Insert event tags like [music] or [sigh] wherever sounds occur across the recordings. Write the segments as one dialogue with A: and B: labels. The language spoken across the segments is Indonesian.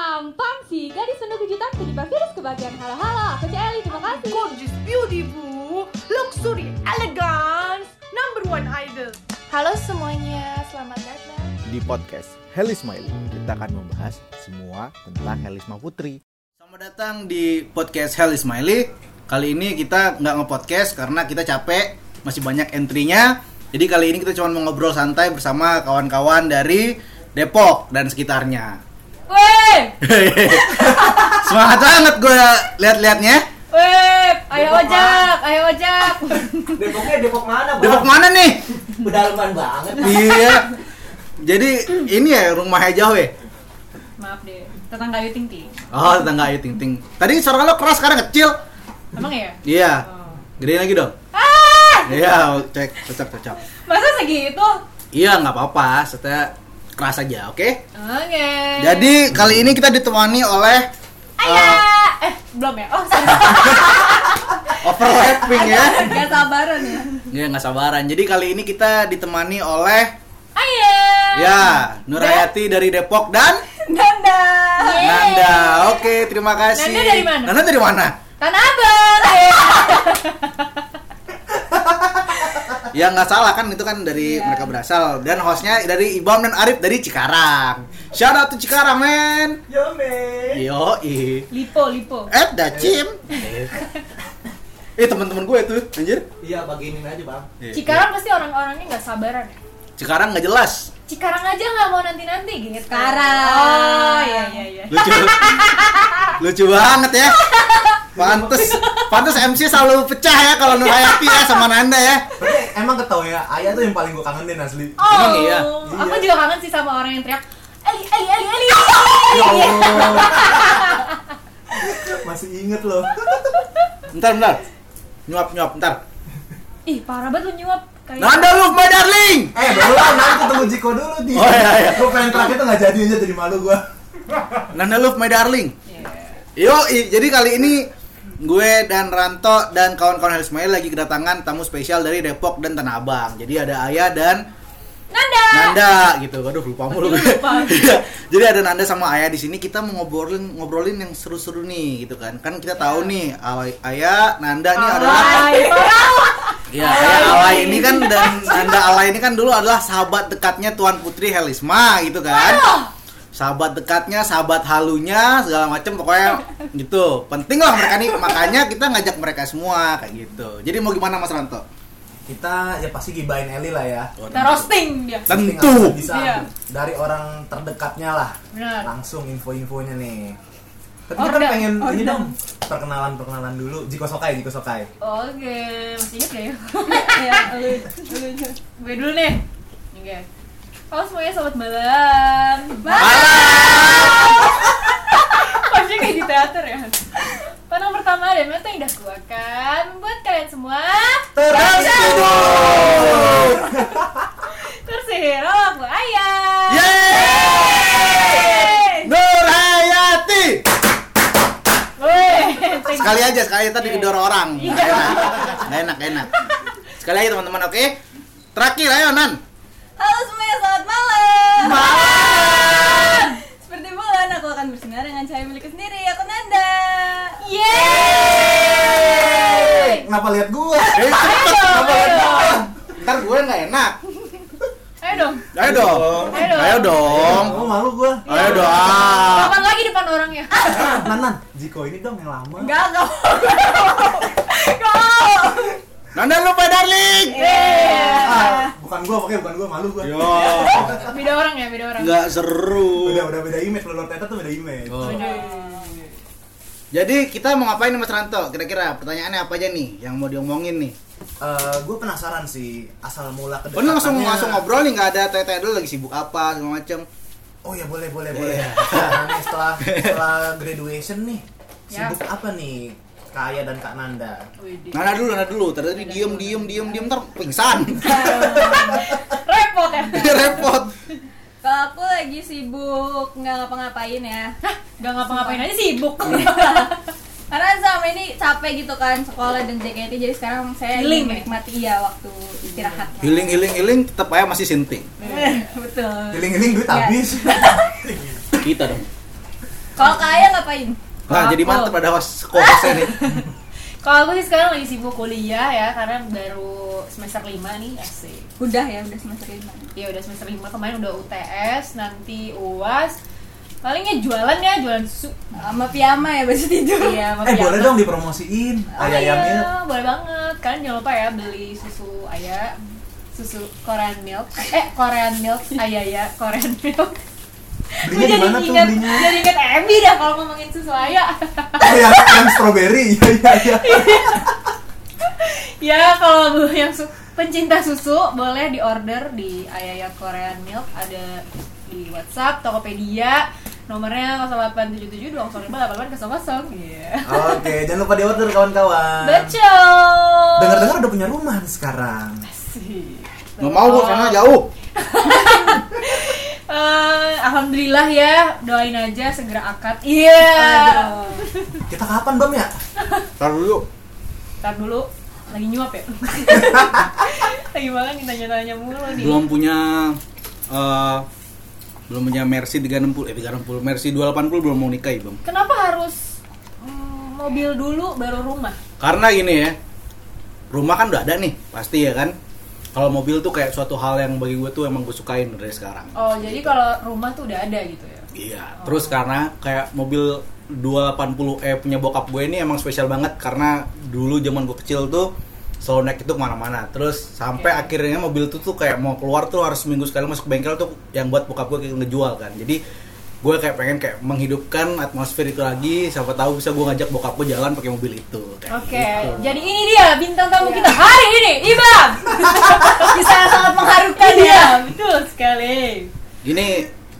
A: gampang sih. Gadis penuh kejutan penyebab virus kebahagiaan. Halo-halo, aku Celi, terima kasih.
B: Gorgeous, beautiful, luxury, elegance, number one idol.
C: Halo semuanya, selamat datang.
D: Di podcast Helis Smile, kita akan membahas semua tentang Helisma Putri.
E: Selamat datang di podcast Hell is Smiley. Kali ini kita nggak nge-podcast karena kita capek, masih banyak entry-nya. Jadi kali ini kita cuma mau ngobrol santai bersama kawan-kawan dari Depok dan sekitarnya. [laughs]
B: Weh,
E: Semangat banget gue lihat-lihatnya.
B: weh, ayo ojek, ayo ojek.
F: Depoknya Depok mana, Bang?
E: Depok mana nih?
F: Pedalaman banget.
E: iya. Jadi ini ya rumah jauh ya.
B: [laughs] Maaf deh, tetangga Ayu Ting Ting.
E: Oh tetangga ayo ting ting. Tadi suara lo keras sekarang kecil.
B: Emang ya?
E: Iya. Gedein lagi dong.
B: Ah,
E: Iya, cek cocok cocok.
B: masa segitu?
E: Iya nggak apa-apa, setelah keras aja, oke?
B: Eh. Oke.
E: Jadi kali ini kita ditemani oleh uh,
B: Ayah, eh belum ya? Oh, sorry. [laughs]
E: overlapping ya.
B: Gak sabaran ya.
E: Ya nggak sabaran. Jadi kali ini kita ditemani oleh
B: Ayah.
E: ya Nurayati dari Depok dan
B: Nanda.
E: Nanda. Oke, terima kasih.
B: Nanda dari mana?
E: Nanda dari mana?
B: Tanah Abang.
E: Ya nggak salah kan itu kan dari
B: Iya.
E: mereka berasal dan hostnya dari Ibam dan Arif dari Cikarang. Shout out to Cikarang men.
F: Yo, men.
E: Yo
B: Lipo, Lipo.
E: Eh Dacim. eh teman-teman gue tuh anjir.
F: Iya, beginin aja, Bang.
C: Cikarang pasti orang-orangnya nggak sabaran ya.
E: Cikarang Iya. nggak jelas.
C: Cikarang aja nggak mau nanti-nanti gitu.
A: Sekarang.
B: kan? Oh, iya iya iya.
E: lucu lucu banget ya pantes pantes MC selalu pecah ya kalau Nurhayati ya sama Nanda ya
G: Tapi emang ketau ya, Ayah tuh yang paling gue kangenin asli.
B: Oh,
E: Emang iya?
B: aku juga kangen sih sama orang yang teriak Eli, Eli, Eli, Eli.
G: Ya
F: iya.
G: Allah. Masih inget loh.
E: bentar bentar nyuap nyuap bentar
B: Ih, parah banget lu nyuap kayak.
E: Nanda love my darling
G: Eh, belum, nanti ketemu Jiko dulu di.
E: Oh, iya, iya.
G: Gue pengen terakhir tuh nggak jadi aja jadi malu gue.
E: Nanda love my darling
B: gitu.
E: yo jadi kali ini gue dan Ranto dan kawan-kawan Hal Ismail lagi kedatangan tamu spesial dari Depok dan Tanah Abang jadi ada Ayah dan
B: Nanda.
E: Nanda gitu, aduh lupa mulu gue. [laughs] Iya. Jadi ada Nanda sama Ayah di sini kita mau ngobrolin ngobrolin yang seru-seru nih gitu kan. Kan kita tahu nih Ay- Ayah, Nanda ini adalah ya, Ayah Alay ini kan dan Nanda Alay ini kan dulu adalah sahabat dekatnya Tuan Putri Helisma gitu kan. Sahabat dekatnya, sahabat halunya segala macem pokoknya gitu. Penting lah mereka nih makanya kita ngajak mereka semua kayak gitu. Jadi mau gimana Mas Ranto?
G: Kita ya pasti gibain Eli lah ya.
B: Kita roasting dia.
G: Tinggal
E: Tentu.
G: Bisa
B: Iya.
G: dari orang terdekatnya lah.
B: Benar.
G: Langsung info-infonya nih. Tapi
F: Oh,
G: kita kan
B: Order,
G: pengen ini
B: order.
G: dong perkenalan-perkenalan dulu. Jiko Sokai, Jiko Sokai.
B: Oke, masih inget gak ya? [laughs] ya, lu, lu, gue dulu nih. Nih guys. Halo semuanya, selamat malam. [laughs] Pasti kayak di teater ya. Pandang pertama dan mata yang indah kuakan buat kalian semua
G: Terus.
B: tersihir oleh aku ayah.
E: Ya. Yeay! Nur Hayati. [laughs]
B: Weh, thank you.
E: Sekali aja, sekali aja, tadi gedor orang.
B: Iya.
E: Nggak enak, nggak enak, nggak enak. Sekali aja teman-teman, oke? Terakhir, ayo Nan.
A: Halo semuanya, selamat malam.
E: Malam.
A: Seperti bulan, aku akan bersinar dengan cahaya milikku sendiri. Aku Nanda.
B: Yeay!
G: Ngapa lihat gue?
E: Eh, cepet, kenapa
B: ayo
E: enak?
B: dong.
E: Ntar gue nggak enak.
B: Ayo dong.
E: Ayo dong,
B: Ayo dong.
E: ayo dong,
G: Oh, malu gue.
E: ayo dong.
B: Kapan lagi depan orang ya?
E: Ah. Iya.
G: Nan, Nan, Jiko ini dong yang lama.
B: Enggak, enggak.
E: Nanda lupa darling.
B: Iya.
G: Ah, bukan gua pokoknya bukan gua malu gua.
E: Yo,
B: Beda orang ya, beda orang.
E: nggak seru.
G: Udah udah beda image lo Lord Teta tuh beda image.
E: Oh.
B: Aduh.
E: Jadi kita mau ngapain nih Mas Ranto? Kira-kira pertanyaannya apa aja nih yang mau diomongin nih?
G: Eh, gua penasaran sih asal mula
E: Oh,
G: kedekatannya.
E: ini langsung langsung ngobrol nih, nggak ada tete dulu lagi sibuk apa segala macem.
G: Oh ya boleh
E: Iya.
G: boleh boleh. Nah,
E: [laughs]
G: setelah setelah graduation nih
B: Ya.
G: sibuk apa nih Kaya dan Kak Nanda?
B: Widih.
E: Nada dulu, nada dulu. Tadi diem, diem, diem, diem, ntar pingsan. [laughs]
B: Repot ya.
E: Repot.
A: Kalau aku lagi sibuk nggak ngapa-ngapain ya.
B: Enggak ngapa-ngapain aja sibuk.
E: Iya.
A: Karena selama ini capek gitu kan sekolah dan JKT jadi sekarang saya
B: Healing, ya? Iya.
A: ingin menikmati iya waktu istirahat.
E: Healing, healing, healing, tetap aja masih sinting.
B: Betul. iya.
G: Giling-giling duit habis.
E: Kita dong.
A: Kalau kaya ngapain?
E: Nah, jadi mantep ada host co-hostnya nih.
B: Kalau aku sih sekarang lagi sibuk kuliah ya karena baru semester 5 nih E. asik.
A: Udah ya, udah semester lima.
B: Ya udah semester 5 kemarin udah UTS, nanti UAS. Palingnya jualan ya, jualan susu.
A: Sama piyama ya baju tidur.
B: Iya, sama
F: Eh boleh
B: Pianto.
F: dong dipromosiin
B: Oh
F: ayam
B: iya,
F: ayam milk.
B: boleh banget. Kalian jangan lupa ya beli susu ayah, susu Korean milk. Eh, Korean milk, ayaya, Korean milk.
F: Belinya di
B: Gua
F: mana tuh
B: ingat,
F: belinya?
B: Jadi ingat Emmy dah kalau ngomongin susu ayah.
F: Oh yang yang strawberry. [laughs] Iya iya iya.
B: ya, kalau bu yang su- pencinta susu boleh diorder di ayaya Korean milk ada di WhatsApp, Tokopedia, nomornya 0877 Iya.
F: Oke, jangan lupa di order kawan-kawan.
B: Betul.
F: Dengar-dengar udah punya rumah nih sekarang.
B: Asik.
E: Nggak mau gua
B: Betul.
E: karena jauh.
B: Eh, Alhamdulillah ya, doain aja segera akad. Iya.
F: Kita kapan Bam ya?
E: Taruh dulu.
B: Ntar dulu, lagi nyuap
E: [laughs]
B: ya. lagi makan ditanya-tanya mulu nih.
E: Belum punya eh belum punya Mercy 360 eh 360 Mercy 280 belum mau nikah, ya, Bang.
B: Kenapa harus mm, mobil dulu baru rumah?
E: Karena gini ya. Rumah kan udah ada nih, pasti ya kan. Kalau mobil tuh kayak suatu hal yang bagi gue tuh emang gue sukain dari sekarang.
B: Oh, jadi kalau rumah tuh udah ada gitu ya.
E: Iya, terus karena kayak mobil 280e E punya bokap gue ini emang spesial banget karena dulu zaman gue kecil tuh selalu naik itu kemana-mana terus sampai
B: Oke.
E: akhirnya mobil tuh tuh kayak mau keluar tuh harus seminggu sekali masuk ke bengkel tuh yang buat bokap gue kayak ngejual kan jadi gue kayak pengen kayak menghidupkan atmosfer itu lagi siapa tahu bisa gue ngajak bokap gue jalan pakai mobil itu kayak
B: Oke,
E: gitu.
B: jadi ini dia bintang tamu kita hari ini, Ibam.
A: Bisa sangat mengharukan ya.
B: Iya, betul sekali.
E: ini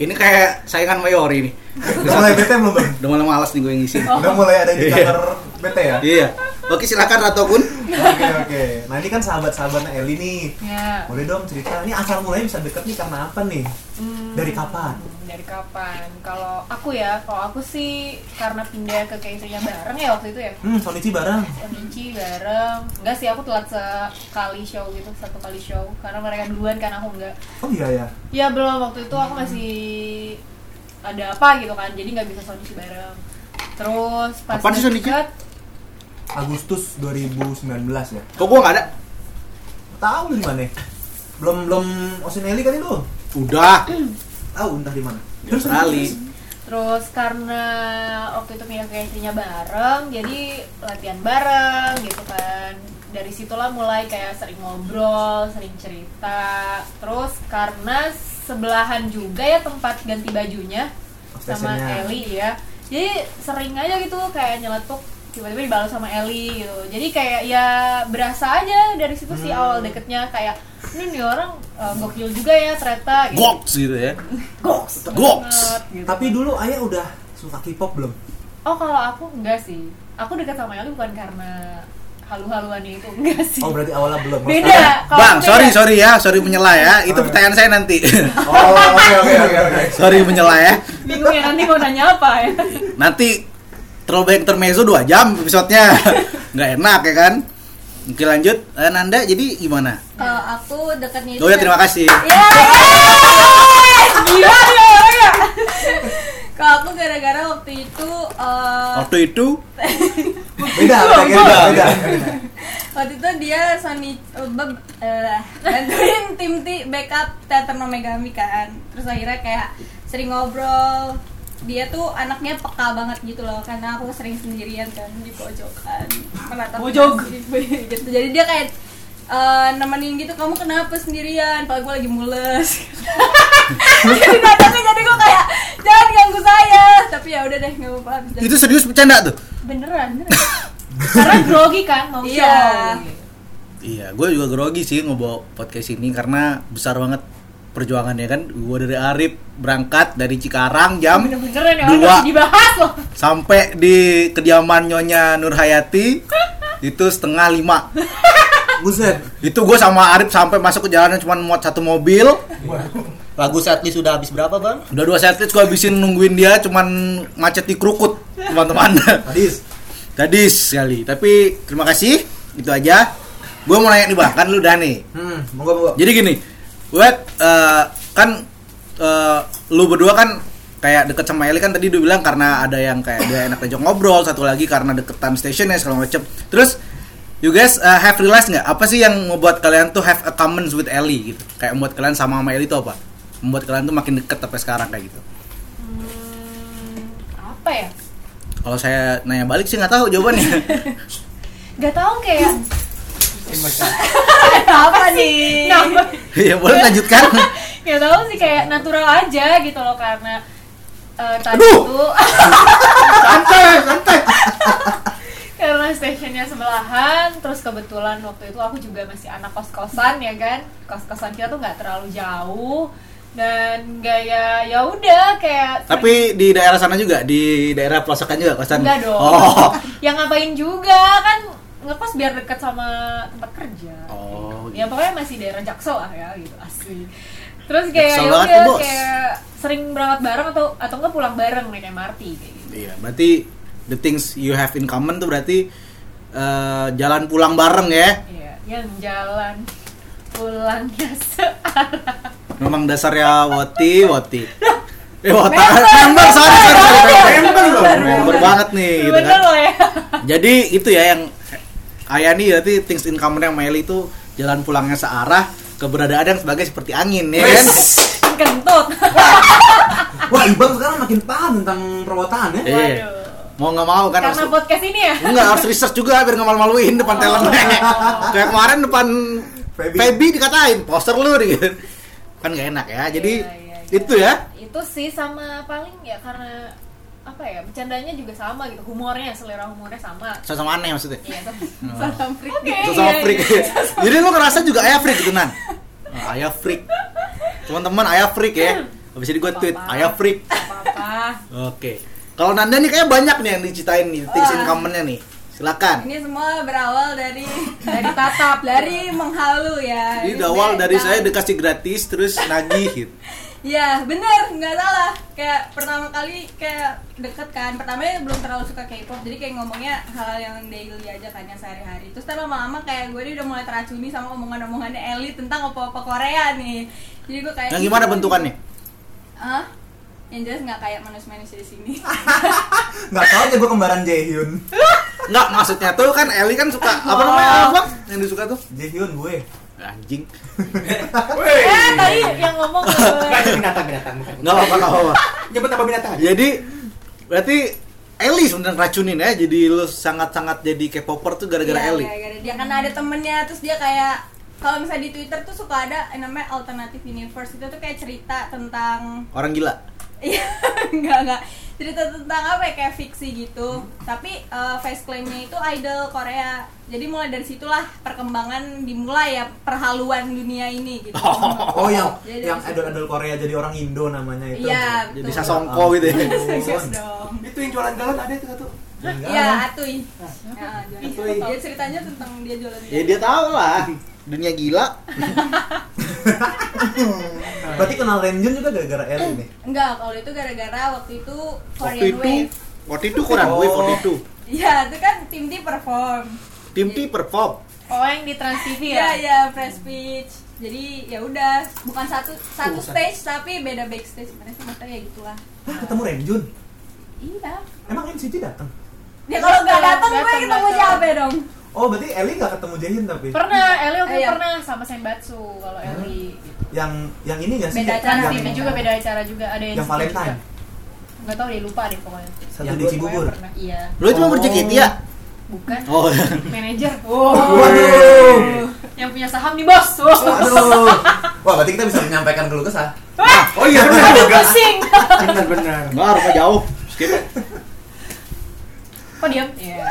E: ini kayak saingan Mayori nih
F: Udah mulai bete belum Bam?
E: udah mulai malas nih gue ngisi
F: Udah mulai ada indikator bete ya?
E: iya oke silakan Rato Kun
F: Oke oke. Nah ini kan sahabat-sahabatnya Eli nih.
B: Ya.
F: Boleh dong cerita. Ini asal mulanya bisa deket nih karena apa nih?
B: Hmm,
F: Dari kapan?
B: Dari kapan? Kalau aku ya, kalau aku sih karena pindah ke KIC-nya bareng ya waktu itu ya.
F: Hmm, Sonichi bareng.
B: Nyuci bareng. Enggak sih, aku telat sekali show gitu, satu kali show karena mereka duluan kan aku enggak.
F: Oh iya ya.
B: Ya belum waktu itu aku masih ada apa gitu kan. Jadi nggak bisa Sonichi bareng. Terus pas
E: Kapan sih Sonichi?
B: deket,
F: Agustus 2019 ya.
E: kok gue nggak ada
F: Tahu di mana? Belum belum Osinelli kali lu.
E: udah
F: Tahu entah di mana.
E: di Australia
B: Terus karena waktu itu pindah ke istrinya bareng, jadi latihan bareng gitu kan. Dari situlah mulai kayak sering ngobrol, sering cerita. Terus karena sebelahan juga ya tempat ganti bajunya
F: Oh,
B: sama
F: Stasiunnya.
B: Eli ya. Jadi sering aja gitu kayak nyeletuk tiba-tiba dibalas sama Eli gitu. Jadi kayak ya berasa aja dari situ sih
F: Hmm.
B: awal deketnya kayak ini nih orang eh, gokil juga ya ternyata gitu.
E: Goks gitu ya. Goks. Goks.
B: Banget, gitu.
F: Tapi dulu ayah udah suka K-pop belum?
B: Oh kalau aku enggak sih. Aku dekat sama Eli bukan karena halu-haluannya itu enggak sih.
F: Oh berarti awalnya belum. Kalau
B: beda. Kalau
E: Bang,
B: beda-
E: sorry sorry ya, sorry menyela ya. Itu
F: Sorry.
E: pertanyaan saya nanti. [laughs]
F: sekarang- Oh oke oke oke oke.
E: sorry menyela ya.
B: Bingung ya nanti mau nanya apa ya.
E: Nanti terobek termezo 2 jam episodenya. [laughs] Nggak enak ya kan? Oke lanjut, Eh, Nanda jadi gimana?
A: Kalau aku Iya, dekatnya itu.
E: Oh ya terima kasih.
B: Gila ya orangnya.
A: Kalau aku gara-gara waktu itu eh,
E: Waktu itu
F: [laughs] Beda beda beda. beda.
A: waktu itu dia Sony eh, beb- eh, bantuin [laughs] tim ti backup teater no Megami kan terus akhirnya kayak sering ngobrol dia tuh anaknya peka banget gitu loh karena aku sering sendirian kan di pojokan menatap
B: Pojok.
A: [laughs] gitu jadi dia kayak eh, nemenin gitu kamu kenapa sendirian Padahal gue lagi mules [laughs] jadi datangnya jadi gue kayak jangan ganggu saya tapi ya udah deh nggak apa-apa Habis dari-
E: itu serius bercanda tuh.
B: Beneran, beneran. Karena grogi kan mau show.
A: Iya.
E: Iya, gue juga grogi sih ngebawa podcast ini karena besar banget perjuangannya kan. Gue dari Arif berangkat dari Cikarang jam
B: Bener-beneran ya orang
E: Dua.
B: masih dibahas loh.
E: sampai di kediaman Nyonya Nurhayati itu setengah lima
F: Buset.
E: itu gue sama Arif sampai masuk ke jalanan cuma muat satu mobil lagu setlist sudah habis berapa bang? udah dua setlist gue habisin nungguin dia cuman macet di kerukut teman-teman
F: Hadis.
E: tadi sekali tapi terima kasih itu aja gue mau nanya nih bang kan lu udah nih
F: Hmm, monggo monggo.
E: jadi gini, buat kan eh, lu berdua kan kayak deket sama Eli kan tadi dia bilang karena ada yang kayak dia enak aja ngobrol satu lagi karena deketan stationnya segala macem terus you guys uh, have realized nggak apa sih yang membuat kalian tuh have a common with Eli gitu kayak membuat kalian sama sama Eli tuh apa membuat kalian tuh makin deket sampai sekarang kayak gitu
B: Hmm, apa ya?
E: kalau saya nanya balik sih nggak tahu jawabannya [laughs]
B: Gak tau kayak [laughs]
A: apa nih?
B: nambah
E: ya boleh lanjutkan
B: [laughs] Gak tau sih kayak natural aja gitu loh karena eh, tadi
E: Aduh!
B: tuh [laughs]
E: santai santai
B: karena stationnya sebelahan terus kebetulan waktu itu aku juga masih anak kos kosan ya kan kos kosan kita tuh nggak terlalu jauh dan gaya ya udah kayak
E: tapi di daerah sana juga di daerah pelosokan juga kosan
B: enggak dong
E: oh
B: yang ngapain juga kan ngekos biar dekat sama tempat kerja
E: Oh,
B: ya pokoknya masih daerah Jaksel lah ya gitu asli terus kayak
E: Jaksel
B: ya
E: banget
B: udah
E: tuh, Bos.
B: kayak sering berangkat bareng atau atau enggak pulang bareng naik MRT kayak gitu
E: Iya, berarti the things you have in common tuh berarti eh, jalan pulang bareng ya.
B: Iya, yang jalan [laughs] ya pulangnya searah
E: Memang dasarnya woti woti. Eh, wota, member, sorry, sorry, sorry, sorry.
F: Member loh.
E: Member banget nih, gitu
B: bener
E: kan.
B: loh ya [laughs]
E: Jadi itu ya yang Ayah nih berarti things in common yang Meli itu jalan pulangnya searah, keberadaan yang sebagai seperti angin ya kan.
B: kentut
F: Wah, Ibang sekarang makin paham tentang perwotaan ya.
E: Iya.
B: Waduh.
E: Mau nggak mau kan
B: karena
E: harus-
B: podcast ini ya
E: Enggak harus research juga biar nggak malu-maluin depan talent. Kayak kemarin depan
F: Feby.
E: Feby. dikatain poster lu gitu. Kan gak enak ya. Jadi
B: Iya, iya, iya.
E: itu ya.
B: itu sih sama paling ya karena apa ya bercandanya juga sama gitu humornya selera humornya sama
E: Sama-sama aneh maksudnya.
B: Iya,
E: [laughs]
B: sama
A: Salam freak.
E: Sama-sama
B: iya,
E: freak.
B: iya.
E: [laughs] Jadi lu ngerasa juga ayah freak gitu Nan. Nah, ayah freak. Teman-teman ayah freak ya. Habis ini gue tweet
B: Apa-apa.
E: ayah freak.
B: apa-apa
E: Oke. Kalau Nanda nih kayak banyak nih yang diceritain nih tips in common-nya nih.
B: Iya,
E: Silakan.
A: Ini semua berawal dari
B: dari tatap
A: dari menghalu ya.
E: Jadi
B: iya,
E: awal dari
A: Nah,
E: saya dikasih gratis terus nagih gitu.
A: Iya bener, nggak salah. Kayak pertama kali kayak deket kan. Pertamanya belum terlalu suka K-pop, jadi kayak ngomongnya hal yang daily aja kan yang sehari-hari. Terus ntar lama-lama kayak gue ini udah mulai teracuni sama omongan-omongannya Eli tentang apa-apa Korea nih. Jadi gue kayak.
E: Yang Nah, gimana
A: "Ih,
E: bentukannya?
A: Hah? Yang jelas nggak kayak manusia-manusia di sini.
F: Enggak tahu aja gua kembaran Jaehyun.
E: Nggak, maksudnya tuh kan Eli kan suka apa namanya apa yang disuka tuh?
F: Jaehyun gue.
E: Anjing.
B: eh tadi yang ngomong eh,
H: Bukan
E: [laughs]
B: ke-
H: binatang binatang bukan.
E: Nggak apa-apa, nggak apa-apa.
H: Nyebut apa binatang? aja.
E: Jadi berarti Eli sebenarnya racunin ya. Jadi lu sangat-sangat jadi K-popper tuh gara-gara
A: Iya,
E: Eli.
A: gara-gara dia karena ada temennya terus dia kayak kalau misalnya di Twitter tuh suka ada yang namanya alternative universe itu tuh kayak cerita tentang [laughs]
E: Orang gila.
A: iya enggak enggak cerita tentang apa ya kayak fiksi gitu tapi eh, face claimnya itu idol Korea jadi mulai dari situlah perkembangan dimulai ya perhaluan dunia ini gitu
F: [laughs] Oh, yang
A: Jadi
F: yang
A: dari [laughs]
F: idol-idol Korea jadi orang Indo namanya itu. Iya.
A: iya
E: Jadi
A: betul
E: sasong. Songko gitu ya.
A: Serius dong
H: Itu yang jualan galon ada itu satu.
A: Iya, Atuy. Nah,
H: Atuy.
A: Dia ceritanya tentang dia jualan.
F: Iya,
E: Ya dia tahu lah. Dunia gila.
F: Berarti kenal Renjun juga gara-gara ya? Eli nih.
A: Enggak, kalau itu gara-gara waktu itu Korean
E: Waktu itu
A: Wave.
E: waktu itu kurang
F: Oh.
E: wave waktu itu.
A: Iya, itu kan tim T perform.
E: Tim T perform.
B: oh yang di Trans TV
A: Iya,
B: ya
A: iya, press speech. Jadi ya udah, bukan satu satu stage tapi beda backstage. Mana sih maksudnya ya gitulah.
F: Hah, ketemu Renjun.
A: Iya.
F: Emang NCT datang?
A: Ya kalau nggak datang gue
B: Datang,
A: ketemu
B: datang.
A: siapa dong?
F: Oh, berarti Eli nggak ketemu Jaehyun tapi
B: pernah Eli waktu itu
A: Iya.
B: pernah sama Senbatsu kalau
E: Hmm.
B: Eli gitu.
F: yang yang ini nggak sih?
A: Beda acara
F: yang,
B: Trans TV juga beda acara juga ada
F: Yang
B: NCT
F: Valentine.
B: juga. nggak tahu deh lupa deh pokoknya
F: Satu
E: Yang
F: di
B: Pokoknya
E: dua-
F: Cibubur.
A: Nah,
B: pernah iya
E: Lu itu mau
F: Oh.
E: berjaket ya? [laughs]
B: bukan
E: Oh.
B: manajer oh
F: Waduh.
B: yang punya saham nih bos oh.
F: Waduh. [laughs] Wah, berarti kita bisa menyampaikan keluh kesah.
H: Oh iya benar.
B: aduh pusing
H: Benar benar.
E: Baru mah jauh. Skip.
B: kok diam iya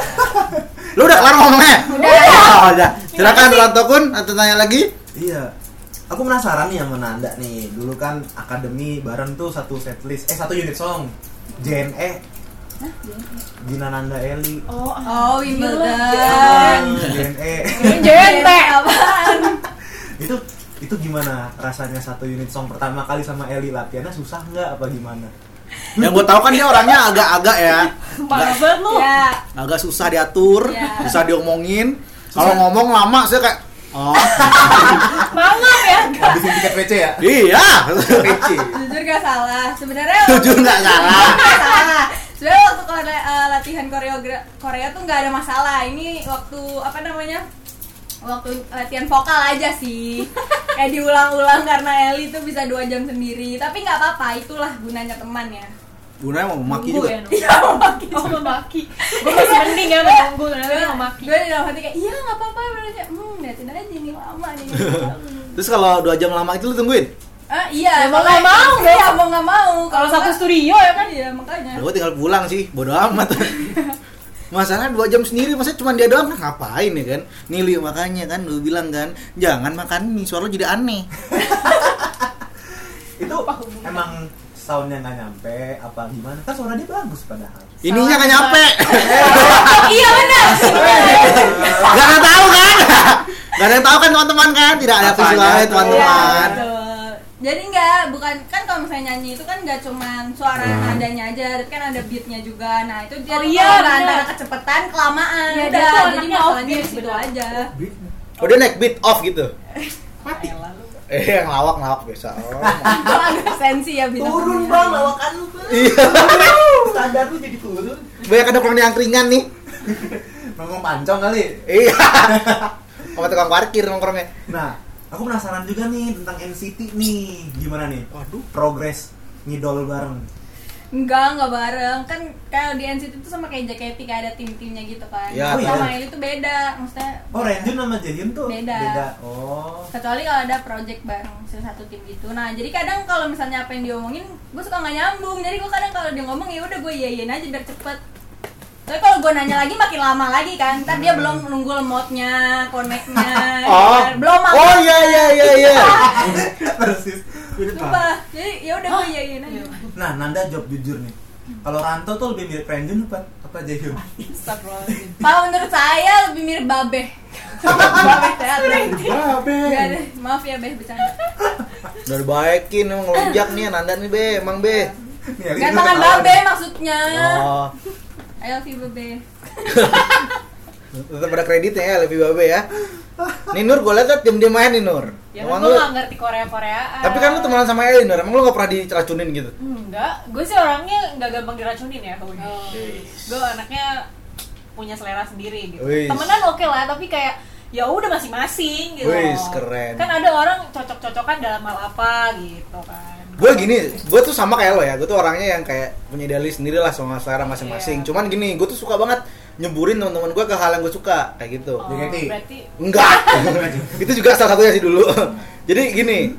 E: Lu udah kelar ngomongnya? Udah. udah. Silakan Ranto Kun atau tanya lagi.
F: Iya. Aku penasaran nih yang Nanda nih. Dulu kan akademi bareng tuh satu setlist, eh satu unit song. JNE. Gina Nanda Eli. E.
B: oh ah.
A: Oh,
B: Wimbledon.
F: JNE.
B: Ini
A: Iya,
B: jente
A: [laughs] apaan?
F: itu itu gimana rasanya satu unit song pertama kali sama Eli latihannya susah nggak apa gimana?
E: Yang gue tahu kan dia orangnya agak-agak ya.
B: parah banget lu
A: Ya,
E: agak susah diatur,
A: Iya.
E: susah diomongin. Kalau ngomong lama saya kayak Oh
B: Mangap ya?
F: Habisin tiket WC ya?
E: iya,
A: jujur gak salah sebenarnya
E: jujur nggak salah.
A: Nggak salah sebenarnya waktu kore- eh, latihan koreogra Korea tuh nggak ada masalah ini waktu apa namanya waktu latihan vokal aja
E: [laughs]
A: sih kayak diulang-ulang karena Eli tuh bisa dua jam sendiri tapi nggak apa-apa itulah gunanya teman ya
E: Gunanya mau memaki
B: Nunggu
E: juga.
B: ya, nunggu. Oh, memaki. Gue masih mending ya menunggu, ternyata dia memaki.
A: gue di dalam hati kayak iya nggak apa-apa bener aja hmm liatin aja nih lama
E: [laughs]
A: nih
E: Terus kalau dua jam lama itu lu tungguin?
A: ah iya
B: Ya mau nggak
A: makanya-
B: mau dong.
A: [laughs] iya mau nggak mau
B: Kalau satu
A: nggak-
B: studio ya kan?
A: iya makanya
E: Ya, Gua tinggal pulang sih, bodo
A: [laughs]
E: amat. Masalahnya dua jam sendiri, maksudnya cuma dia doang kan ngapain ya kan? Nili makanya kan lu bilang kan, jangan makan mie, suara lu jadi aneh.
F: Itu emang soundnya nggak nyampe apa gimana? Kan suara dia bagus padahal.
E: Ininya kan nyampe. [laughs]
B: Iya benar.
E: Gak ada yang tahu kan? [laughs] Gak ada yang tahu kan teman-teman kan? Tidak ada
H: Apanya?
E: persilangan teman-teman.
A: Iya, betul. Jadi nggak, bukan kan kalau misalnya nyanyi itu kan nggak cuman suara nadanya aja, tapi kan ada beatnya juga. Nah itu dia
B: Oh
A: tuh
B: iya,
A: kalau nggak
B: benar.
A: antara kecepatan, kelamaan,
B: Iya,
A: udah.
B: dia tuh
A: Jadi
B: anaknya gitu.
A: masalahnya
B: offbeat,
A: di situ
B: benar. [laughs]
A: aja.
E: Udah naik beat off gitu.
B: Mati.
E: Eh, yang lawak-lawak biasa. Oh,
A: Itu agak sensi ya bintang.
G: Turun
A: tamunya.
G: bang, lawakan lu bang.
F: [laughs]
E: Iya.
G: Standar lu jadi turun.
E: Banyak ada kurang angkringan nih.
F: Ngomong pancong kali.
E: Iya. Sama tukang parkir nongkrongnya.
F: Nah, aku penasaran juga nih tentang NCT nih. Gimana nih?
E: Waduh.
F: Progres ngidol bareng.
A: Enggak, enggak bareng. Kan kalau di NCT itu sama kayak JKT kayak ada tim-timnya gitu kan.
E: Iya,
A: Kalau sama
F: iya.
A: Eli tuh beda, maksudnya
F: Oh, Renjun sama Jaehyun tuh
A: Beda.
F: Oh. [laughs]
A: kecuali kalau ada project bareng misalnya satu tim gitu nah jadi kadang kalau misalnya apa yang diomongin gue suka nggak nyambung jadi gue kadang kalau dia ngomong ya udah gue iyain aja biar cepet tapi kalau gue nanya lagi makin lama lagi kan ntar dia belum nunggu lemotnya koneknya
E: [laughs] Oh.
A: ya. belum apa
E: Oh iya iya iya iya.
F: Persis.
A: sumpah jadi ya udah gue iyain aja
F: Nah, Nanda jawab jujur nih. Kalau Ranto tuh lebih mirip Renjun apa apa Jaehyun?
B: Astagfirullahaladzim.
A: kalau menurut saya lebih mirip babe babe sehat
H: Babe.
A: Gak deh, maaf ya Beh, bercanda
E: Udah dibaikin emang ngelonjak nih Nanda nih Be, emang Be.
F: Nih, Ali juga
A: Gantengan
F: ketawa
A: babe
F: nih.
A: maksudnya
E: Oh.
A: I love you babe
E: Tetap ada kreditnya ya, lebih babe ya. Nih Nur, gue liat liat diam-diam aja nih Nur.
B: Ya kan
E: emang
B: gue
E: lu,
B: nggak ngerti Korea-Koreaan.
E: tapi kan lu temenan sama Eli Nur, emang lu gak pernah diracunin gitu?
B: Enggak, gue sih orangnya nggak gampang diracunin ya kalau gue. Gue anaknya punya selera sendiri gitu.
E: Wis.
B: Temenan oke lah, tapi kayak ya udah masing-masing gitu.
E: Wis,
B: loh.
E: keren.
B: Kan ada orang cocok-cocokan dalam hal apa gitu kan.
E: gue gini gue tuh sama kayak lo ya gue tuh orangnya yang kayak punya idealis sendiri lah sama selera masing-masing
B: Iya.
E: cuman gini gue tuh suka banget nyeburin teman-teman gue ke hal yang gue suka kayak gitu
B: Oh,
F: JKT.
B: berarti
E: enggak itu juga salah satunya sih dulu [laughs] jadi gini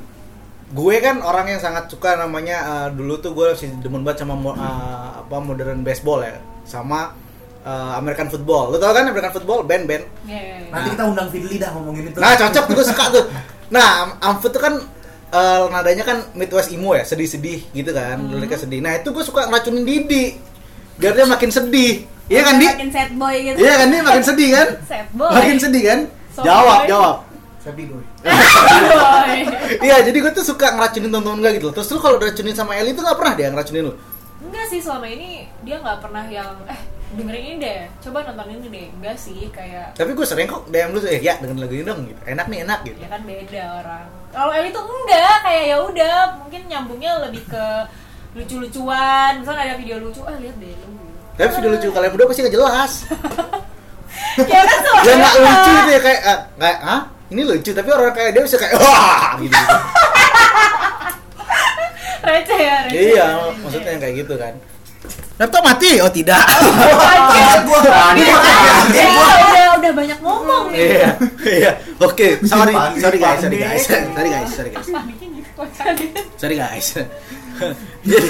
E: gue kan orang yang sangat suka namanya eh, dulu tuh gue sih demen banget sama mo- eh, apa modern baseball ya sama eh, American football lo tau kan American football band-band
B: ya, ya, ya.
F: Nanti kita undang Fidli dah ngomongin itu.
E: Nah cocok tuh gue suka tuh. Nah Am- Amfu tuh kan eh, nadanya kan Midwest emo ya sedih-sedih gitu kan, mereka sedih. Nah itu gue suka ngeracunin Didi biar dia makin sedih. Iya kan di?
A: Makin sad boy gitu
E: Iya kan dia makin sedih kan?
B: Sad boy.
E: Makin sedih kan?
B: Soalnya-
E: Jawab jawab.
G: Sepi gue.
B: Sad boy.
E: Iya jadi gue tuh suka ngeracunin temen-temen gue gitu. loh. Terus lu kalau diracunin sama Eli tuh nggak pernah dia ngeracunin lu.
B: Enggak sih selama ini dia nggak pernah yang eh dengerin ini deh, coba nonton ini deh. Enggak sih kayak
E: Tapi gue sering kok DM lu eh ya dengan lagu ini dong gitu. Enak nih enak gitu.
B: ya kan beda orang. Kalau Eli tuh enggak kayak ya udah mungkin nyambungnya lebih ke lucu-lucuan. Misalnya ada video lucu, ah lihat deh lu. [laughs]
E: Tapi video lucu kalian berdua pasti nggak jelas.
B: ya kan selama
E: ya nggak lucu gitu ya kayak eh, kayak ah ini lucu tapi orang kayak dia bisa kayak wah gitu.
B: receh ya receh.
E: Iya, maksudnya yang kayak gitu kan. Laptop mati? Oh [laughs] tidak.
B: Ya,
A: Iya,
B: udah udah banyak ngomong nih.
E: Iya, iya. Oke, sorry,
F: Panik,
E: sorry guys, sorry
F: panik.
E: guys, sorry guys, sorry guys,
B: Bikin gitu, kaget.
E: sorry guys. Jadi,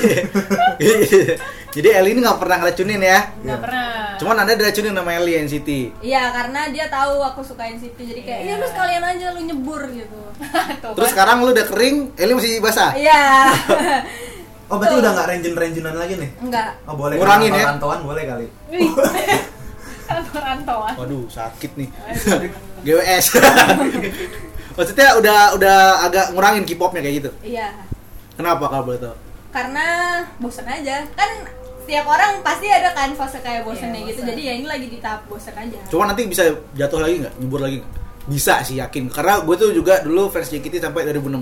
E: [laughs] jadi Eli ini nggak pernah ngeracunin ya.
B: Nggak pernah.
E: Cuman anda diracunin sama Eli NCT.
A: Iya karena dia tahu aku suka NCT jadi kayak
B: Iya.
A: ya lu sekalian aja lu nyebur
B: [laughs]
A: gitu.
B: Tuh,
E: Terus
B: kan.
E: sekarang lu udah kering, Eli masih basah.
A: Iya. [laughs]
F: Oh, berarti udah nggak Renjun-Renjunan lagi nih?
A: Enggak.
F: Oh, boleh.
E: Ngurangin ya?
F: Rantoan boleh kali.
B: Wih.
E: [laughs]
B: Kan Rantauan.
E: Waduh, sakit nih. [laughs] GWS. [laughs] Maksudnya udah udah agak ngurangin K-popnya kayak gitu.
A: Iya.
E: Kenapa kalau boleh tahu?
A: Karena bosen aja. Kan setiap orang pasti ada kan fase kayak
B: Iya,
A: bosennya gitu.
B: bosen.
A: Jadi ya ini lagi di tahap bosen aja.
E: Cuma nanti bisa jatuh lagi nggak, nyebur lagi nggak? bisa sih yakin karena gue tuh juga dulu fans JKT sampai 2016
A: Hmm.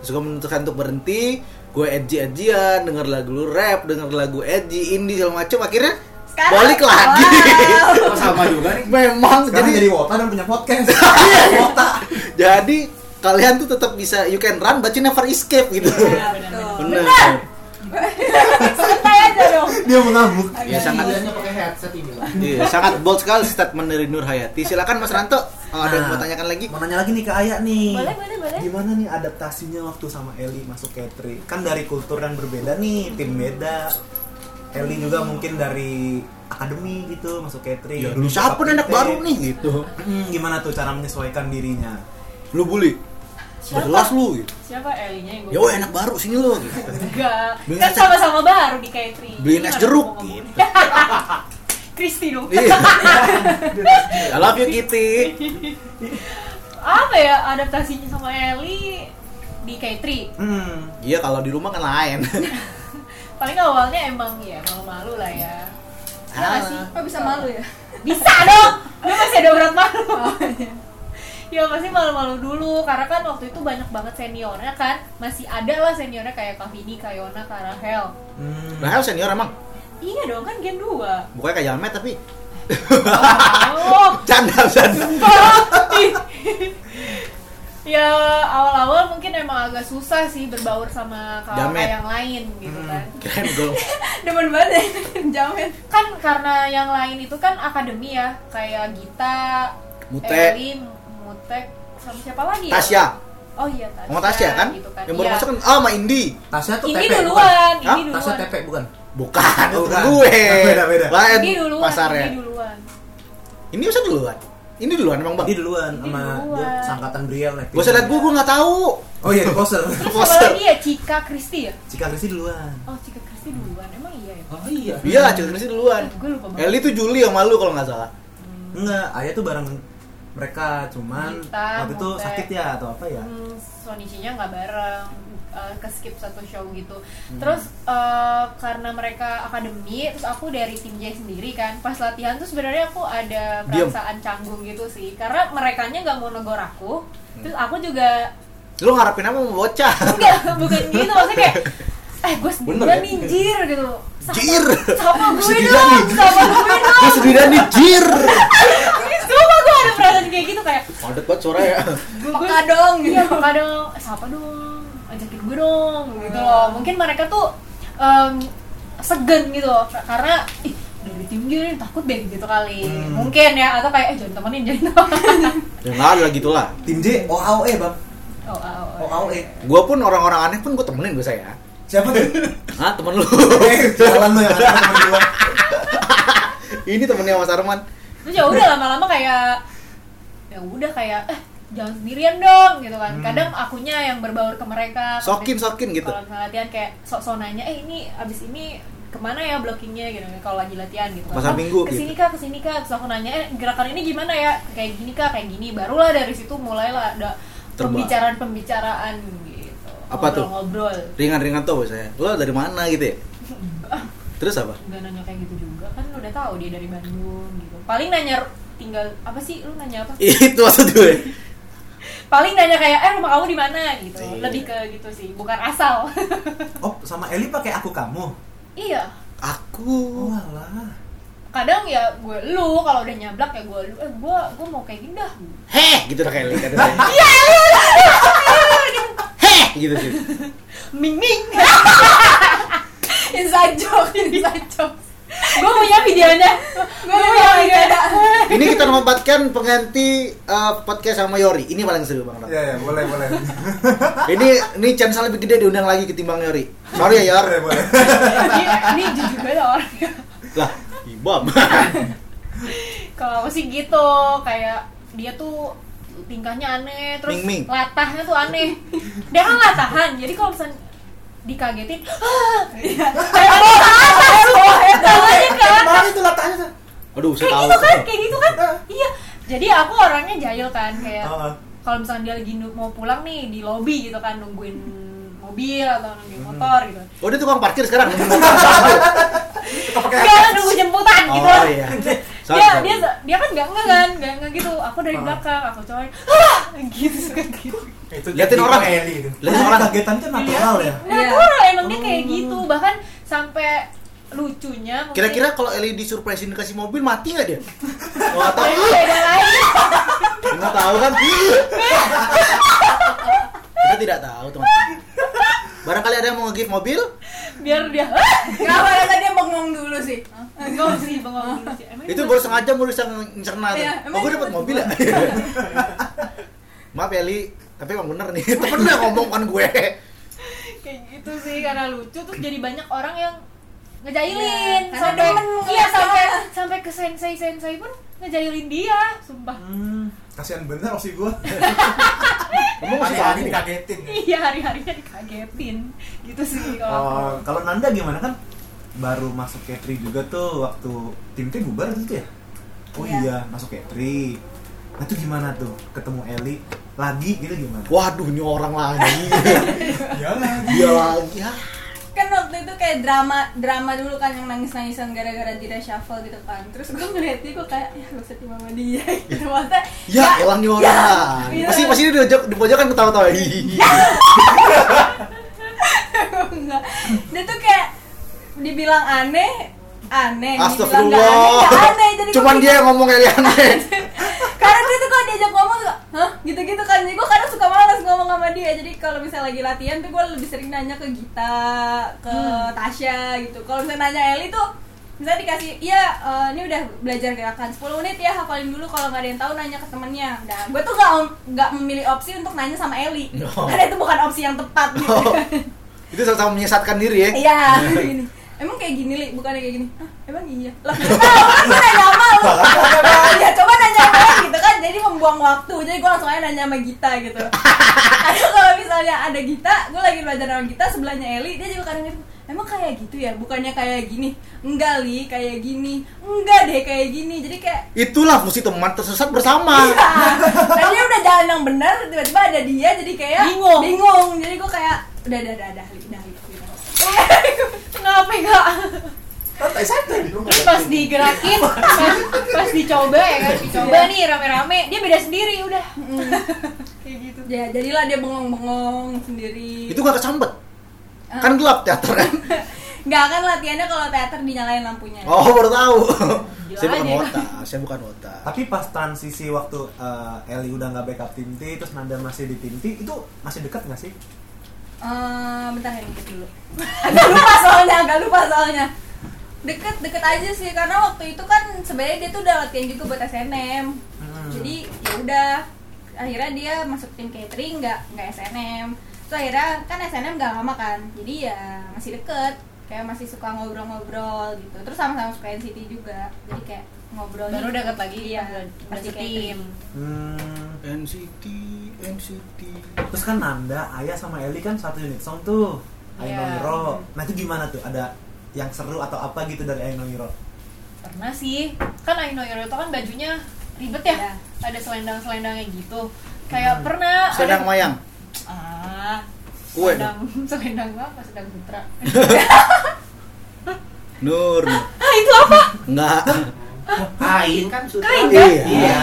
E: terus gue memutuskan untuk berhenti gue edgy edgyan denger lagu rap denger lagu edgy indie segala macem akhirnya
A: Sekarang- [laughs]
E: balik lagi [laughs]
A: Wow.
H: Oh, sama juga nih
E: memang
F: Sekarang
E: jadi
F: jadi wota dan punya
E: [laughs]
F: podcast. wota.
E: jadi kalian tuh tetap bisa you can run but you never escape gitu [laughs]
A: Iya, betul.
E: benar
A: Santai aja dong.
F: Dia mengamuk.
E: ya sangat
G: Kaliannya pakai headset ini lah.
E: Iya, sangat bold sekali statement dari Nur Hayati. Silakan Mas Ranto, kalau ada yang mau
F: Nah,
E: tanyakan lagi.
F: Mau nanya lagi nih ke Aya nih.
C: Boleh, boleh, boleh.
F: Gimana nih adaptasinya waktu sama Eli masuk Katri? Kan dari kultur yang berbeda nih, tim beda. Eli juga mungkin dari akademi gitu masuk Katri.
E: Ya, dulu siapa nih anak baru nih gitu.
F: Hmm, gimana tuh cara menyesuaikan dirinya?
E: Lu bully. Jelas lu gitu.
B: Siapa Elinya yang gue?
E: Ya woi, anak baru sini lu gitu.
B: Enggak.
E: Beli
B: Kan
E: es-
B: sama-sama baru di Katri.
E: Beliin es jeruk
B: [laughs]
E: gitu.
B: Kristi Eh, dong.
E: Iya. I love you Kitty.
B: Apa ya adaptasinya sama Eli di Katri?
F: Hmm.
E: Iya, kalau di rumah kan lain.
B: Paling awalnya emang ya malu-malu lah ya. Iya nggak sih?
A: Kok bisa malu ya? [laughs]
B: Bisa dong. Gue masih ada berat malu. Ya pasti malu-malu dulu karena kan waktu itu banyak banget seniornya kan masih ada lah seniornya kayak Kavini, Kayona, Karahel.
F: Hmm.
E: Rahel Nah, senior emang.
B: Iya dong kan Gen 2
E: Bukannya kayak Jalmet tapi
B: Oh,
E: canda canda.
B: ya awal-awal mungkin emang agak susah sih berbaur sama kakak
E: Jamet. Hmm.
B: yang lain gitu kan.
E: Keren gol.
A: Demen banget ya, [laughs] jamin.
B: Kan karena yang lain itu kan akademi ya, kayak Gita,
E: Mutek.
B: Eli, Mutek, sama siapa lagi? ya?
E: Tasya.
B: Oh iya Tasya.
E: Ngomong Tasya kan?
B: Gitu kan.
E: Yang baru
B: Iya.
E: masuk kan ah sama Indi.
G: Tasnya tuh
B: Ini
G: tepe, bukan?
B: duluan,
E: Hah?
B: ini
G: Tasnya
B: duluan.
G: tepe bukan?
E: Bukan,
F: Oh,
E: itu
F: bukan.
E: gue.
F: Beda, beda.
E: Lain
B: Ini duluan,
E: pasarnya.
B: ini duluan.
E: Ini usah duluan. Ini duluan emang, Bang.
F: Dia duluan sama
B: duluan.
F: dia sangkatan Briel nih.
E: Gue sadar gue, gue gak tahu.
F: Oh iya, di poster.
B: Terus
E: Poster.
B: siapa lagi ya Cika Kristi ya?
F: Cika Krisi duluan.
B: Oh Cika Kristi duluan, emang iya ya?
G: Oh iya.
E: Iya, ceritanya sih duluan.
B: Gue lupa banget.
E: Eli tuh Juli sama lu kalau nggak salah.
F: Enggak, Aya tuh bareng mereka cuman
B: Kita,
F: waktu itu
B: Montek.
F: sakit ya atau apa ya?
B: Hmm, Sonicinya nggak bareng eh, ke skip satu show gitu
E: Hmm.
B: terus eh, karena mereka akademi terus aku dari tim J sendiri kan pas latihan tuh sebenarnya aku ada
E: Diam.
B: perasaan canggung gitu sih karena mereka nggak mau negor aku
E: Hmm.
B: terus aku juga
E: Lu ngarepin apa mau bocah?
B: enggak [laughs] bukan gitu maksudnya kayak eh gue
H: Bener
B: sendirian
H: ya?
B: nih jir gitu Sama-
E: Jir.
B: sama gue
E: Sedih
B: dong
E: banget.
B: sama gue dong
E: Gue sendiri nih jir.
B: cuma gue ada perasaan kayak gitu kayak
E: Padet banget suara ya.
B: gue gue-
A: Peka dong
B: Iya,
A: gitu.
B: maka dong, siapa dong, ajakin gue dong, gitu loh. Mungkin mereka tuh em, segan gitu loh, karena ih dari tim gue nih, takut deh gitu kali. Mungkin ya, atau kayak eh jangan temenin, jangan temenin. [laughs]
E: Ya nggak ada gitu lah.
F: Tim J OAOE, E, Bang.
B: oh, oh, oh.
F: OAOE.
E: Gue pun orang-orang aneh pun gue temenin gue saya.
F: E. Siapa [laughs] tuh?
E: Hah temen lu? [laughs]
F: Eh, jalan lu yang ada temen gua.
E: Ini temennya Mas Arman.
B: Terus ya udah lama-lama kayak ya udah kayak eh jangan sendirian dong gitu kan. Kadang akunya yang berbaur ke mereka.
E: Hmm. Sokin
B: Kadang-
E: sokin gitu.
B: Kalau misalnya latihan kayak sok-sok nanya, eh ini abis ini kemana ya blockingnya gitu kalau lagi latihan gitu Oh,
E: Pasar Minggu,
B: kesini
E: gitu.
B: kak kesini kak terus aku nanya eh gerakan ini gimana ya kayak gini kak kayak gini barulah dari situ mulailah ada
E: Terba-
B: pembicaraan pembicaraan gitu
E: Apa tuh?
B: ngobrol ngobrol
E: Ringan-ringan tuh saya. Lo dari mana gitu ya? Terus apa?
B: nggak nanya kayak gitu juga kan lu udah tahu dia dari Bandung gitu paling nanya tinggal apa sih lu nanya apa
E: Itu maksud gue.
B: paling nanya kayak eh rumah kamu di mana gitu
E: Iya.
B: lebih ke gitu sih bukan asal
F: Oh, sama Eli pakai aku kamu.
B: [laughs]
F: Oh,
B: iya
E: Aku.
F: Walah.
B: kadang ya gue lu kalau udah nyablak ya gue lu eh gue gue mau kayak gini dah
E: Heh gitu udah kayak Eli kata saya. Heh gitu sih.
B: ming [laughs] ming
A: Inside joke, inside joke.
B: gue punya videonya
A: Gue udah gak ada.
E: Ini kita nobatkan pengganti eh, podcast sama Yori. Ini paling seru Bang Ram.
F: Iya, iya, boleh, [laughs] boleh.
E: Ini ini chance lebih gede diundang lagi ketimbang Yori. Sorry ya
F: Boleh,
E: Yor.
F: Iya, boleh.
B: Iya. ini, ini jujur banget orangnya
E: Lah, ibam. [laughs]
B: kalau aku sih gitu kayak dia tuh tingkahnya aneh terus
E: Ming-ming.
B: latahnya tuh aneh dia kan latahan jadi kalau misalnya dikagetin "Ah!" kayak mau ke atas semua tangannya ke atas
H: Mana itu latahnya tuh?
E: Aduh, saya
B: kayak
E: tahu.
B: gitu kan kayak gitu kan iya jadi aku orangnya jahil kan kayak
E: Oh.
F: Heeh.
B: kalau misalnya dia lagi nu- mau pulang nih di lobby gitu kan nungguin mobil atau nungguin motor gitu
E: Oh, dia tukang parkir sekarang.
B: Enggak, nunggu jemputan gitu
E: Oh iya. Sorry,
B: dia,
E: sorry.
B: dia dia kan nggak nggak kan nggak nggak gitu aku dari belakang aku coy ah gitu [laughs] suka gitu
G: Itu
E: Liatin orang.
G: Eli itu.
E: Lihat orang
F: kagetan itu natural ya.
B: natural
A: Iya.
B: emang dia kayak
A: Oh.
B: gitu bahkan sampai lucunya mungkin-
E: Kira-kira kalau Eli disurprisein dikasih mobil mati nggak dia? Nggak tahu,
B: beda lagi
E: nggak tahu kan? Kita tidak tahu teman-teman. Barangkali ada yang mau nge-gift mobil?
B: biar dia "Ah!"
A: Gak apa tadi dia bengong dulu sih.
B: bengong sih
A: [laughs]
B: bengong dulu sih Emang
E: Itu
B: dia-
E: baru sengaja mau bisa ngecerna tuh.
A: Iya,
E: Oh,
A: emang
E: gue
A: itu
E: dapat
B: [laughs]
A: bener.
E: mobil ya? Maaf ya, Eli, tapi emang bener nih. Bener ngomong kan gue.
B: kayak gitu sih karena lucu terus jadi banyak orang yang ngejailin
A: Iya, karena
B: sampai
A: demen
B: iya
A: ngeliatnya.
B: sampai sampai ke sensei sensei pun ngejailin dia sumpah [laughs]
F: Hmm, kasihan bener sih [laughs] gua. ya.
E: Ngomong masih
G: Hari-hari
E: kamu.
G: kagetin.
B: iya hari harinya dikagetin gitu sih kalau
F: Oh, kalau Nanda gimana kan baru masuk K3 juga tuh waktu tim T bubar gitu ya? Oh
A: Iya.
F: iya, masuk K3. Nah itu gimana tuh ketemu Eli lagi gitu gimana?
E: [laughs] Waduh, ini orang lagi.
F: Ya lagi.
E: Dia lagi. Ah,
A: Kan waktu itu kayak drama drama dulu kan yang nangis-nangisan gara-gara dia shuffle gitu kan. Terus gue ngeliat dia gue kayak ya gue sedih sama dia. [laughs] Gitu maksudnya.
E: Ya, elang nih orang.
A: iya.
E: Pasti pasti dia di pojok di pojokan ketawa-tawa. Hihihi. ya."
A: [laughs] Enggak. Dia tuh kayak dibilang aneh aneh, dibilang gak aneh
E: Astagfirullah.
A: gak aneh. Jadi gua
E: Cuman
A: pikir-
E: dia yang ngomong Eli aneh.
A: karena dia tuh kalau diajak ngomong suka hah gitu-gitu kan jadi gue kadang suka malas ngomong sama dia jadi kalau misalnya lagi latihan tuh gue lebih sering nanya ke Gita ke Tasya gitu kalau misalnya nanya Eli tuh misalnya dikasih iya eh, ini udah belajar gerakan 10 menit ya hafalin dulu kalau nggak ada yang tahu nanya ke temennya nah gue tuh nggak nggak memilih opsi untuk nanya sama Eli
E: No.
A: karena itu bukan opsi yang tepat gitu
E: Oh, Itu sama-sama menyesatkan diri ya.
A: iya gini emang kayak gini li bukannya kayak gini Hah, emang iya
B: [laughs]
A: lah nggak tahu kan gue nanya sama lu ya coba nanya sama lu gitu kan jadi membuang waktu jadi gue langsung aja nanya sama Gita
B: [laughs]
A: gitu atau kalau misalnya ada Gita gue lagi belajar sama Gita sebelahnya Eli dia juga kadang gitu emang kayak gitu ya bukannya kayak gini enggak li kayak gini enggak deh kayak gini jadi kayak
E: Itulah fungsi teman tersesat bersama.
A: tadi udah jalan yang benar tiba-tiba ada dia jadi kayak
B: Bingung.
A: bingung jadi gue kayak udah udah udah udah li udah li gitu.
B: kenapa ya? enggak
G: Santai santai. Lu nggak
B: pas digerakin pas, pas dicoba ya kan dicoba nih rame-rame dia beda sendiri udah kayak gitu
A: Ya, jadilah dia bengong-bengong sendiri.
E: Itu gak kesambet. Kan gelap teater kan.
A: nggak kan latihannya kalau teater dinyalain lampunya.
E: Oh, baru tahu.
B: Gila
E: Saya bukan
B: aja.
E: wota, saya bukan wota.
F: Tapi pas transisi waktu eh, Eli udah nggak backup tim T, terus Nanda masih di tim T, itu masih dekat nggak sih?
A: Eh, bentar ya dikit dulu. [laughs] agak lupa soalnya, agak lupa soalnya. Deket deket aja sih karena waktu itu kan sebenarnya dia tuh udah latihan juga buat SNM. Jadi ya udah akhirnya dia masuk tim catering nggak nggak SNM. Terus akhirnya kan SNM nggak lama kan, jadi ya masih deket kayak masih suka ngobrol-ngobrol gitu. Terus sama-sama suka NCT juga, jadi kayak ngobrol.
B: baru deket lagi
A: Iya,
B: pas gitu.
A: masih
B: tim
F: Hmm,
E: NCT, NCT.
F: Terus kan Nanda, Ayah sama Eli kan satu unit song tuh. I Know
B: Iya.
F: Hero. Nah itu gimana tuh? Ada yang seru atau apa gitu dari I Know Hero?
B: pernah sih kan I know Your itu kan bajunya ribet ya
A: Iya.
B: ada selendang-selendangnya gitu kayak pernah
E: Sedang
B: ada,
E: mayang.
B: ah
E: Kue
B: selendang [laughs] selendang apa sedang putra
E: Nur.
B: ah itu apa
E: Enggak.
H: Kain kan sutra.
B: Kain kan?
E: Iya.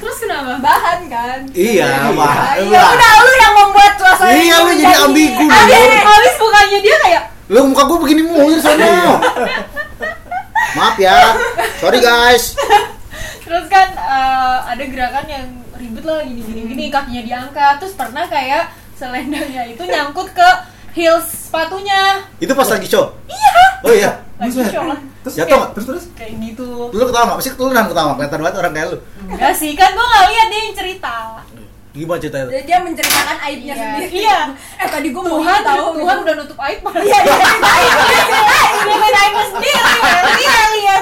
B: terus kenapa
A: Bahan kan.
E: Iya, Wak.
A: Ya udah lu yang membuat suasana
E: Iya,
A: itu
E: lu jadi
A: menjadi-
E: ambigu.
B: abis
E: Nur.
B: abis mukanya dia kayak
E: Lu muka gue begini mulu sono. Maaf ya. Sorry guys.
B: terus kan eh, ada gerakan yang ribet lah gini gini gini kakinya diangkat terus pernah kayak selendangnya itu nyangkut ke heels sepatunya
E: Itu pas lagi show. Iya. Oh iya.
B: lagi
F: Buset.
B: show lah
F: Terus
E: Jatuh nggak?
F: Terus terus?
B: kayak gitu
E: Lu ketawa nggak? Pasti lu nang ketawa. Kelihatan banget orang kayak lu.
B: enggak sih kan gua nggak lihat dia yang cerita
E: Gimana ceritanya?
A: Jadi dia menceritakan aibnya
B: Iya.
A: sendiri.
B: Iya.
A: Eh tadi gue mau
B: Tuhan
A: tahu
B: Tuhan udah nutup aib malah
A: Iya,
B: [laughs]
A: iya, iya.
B: Ngeliat aib sendiri Iya iya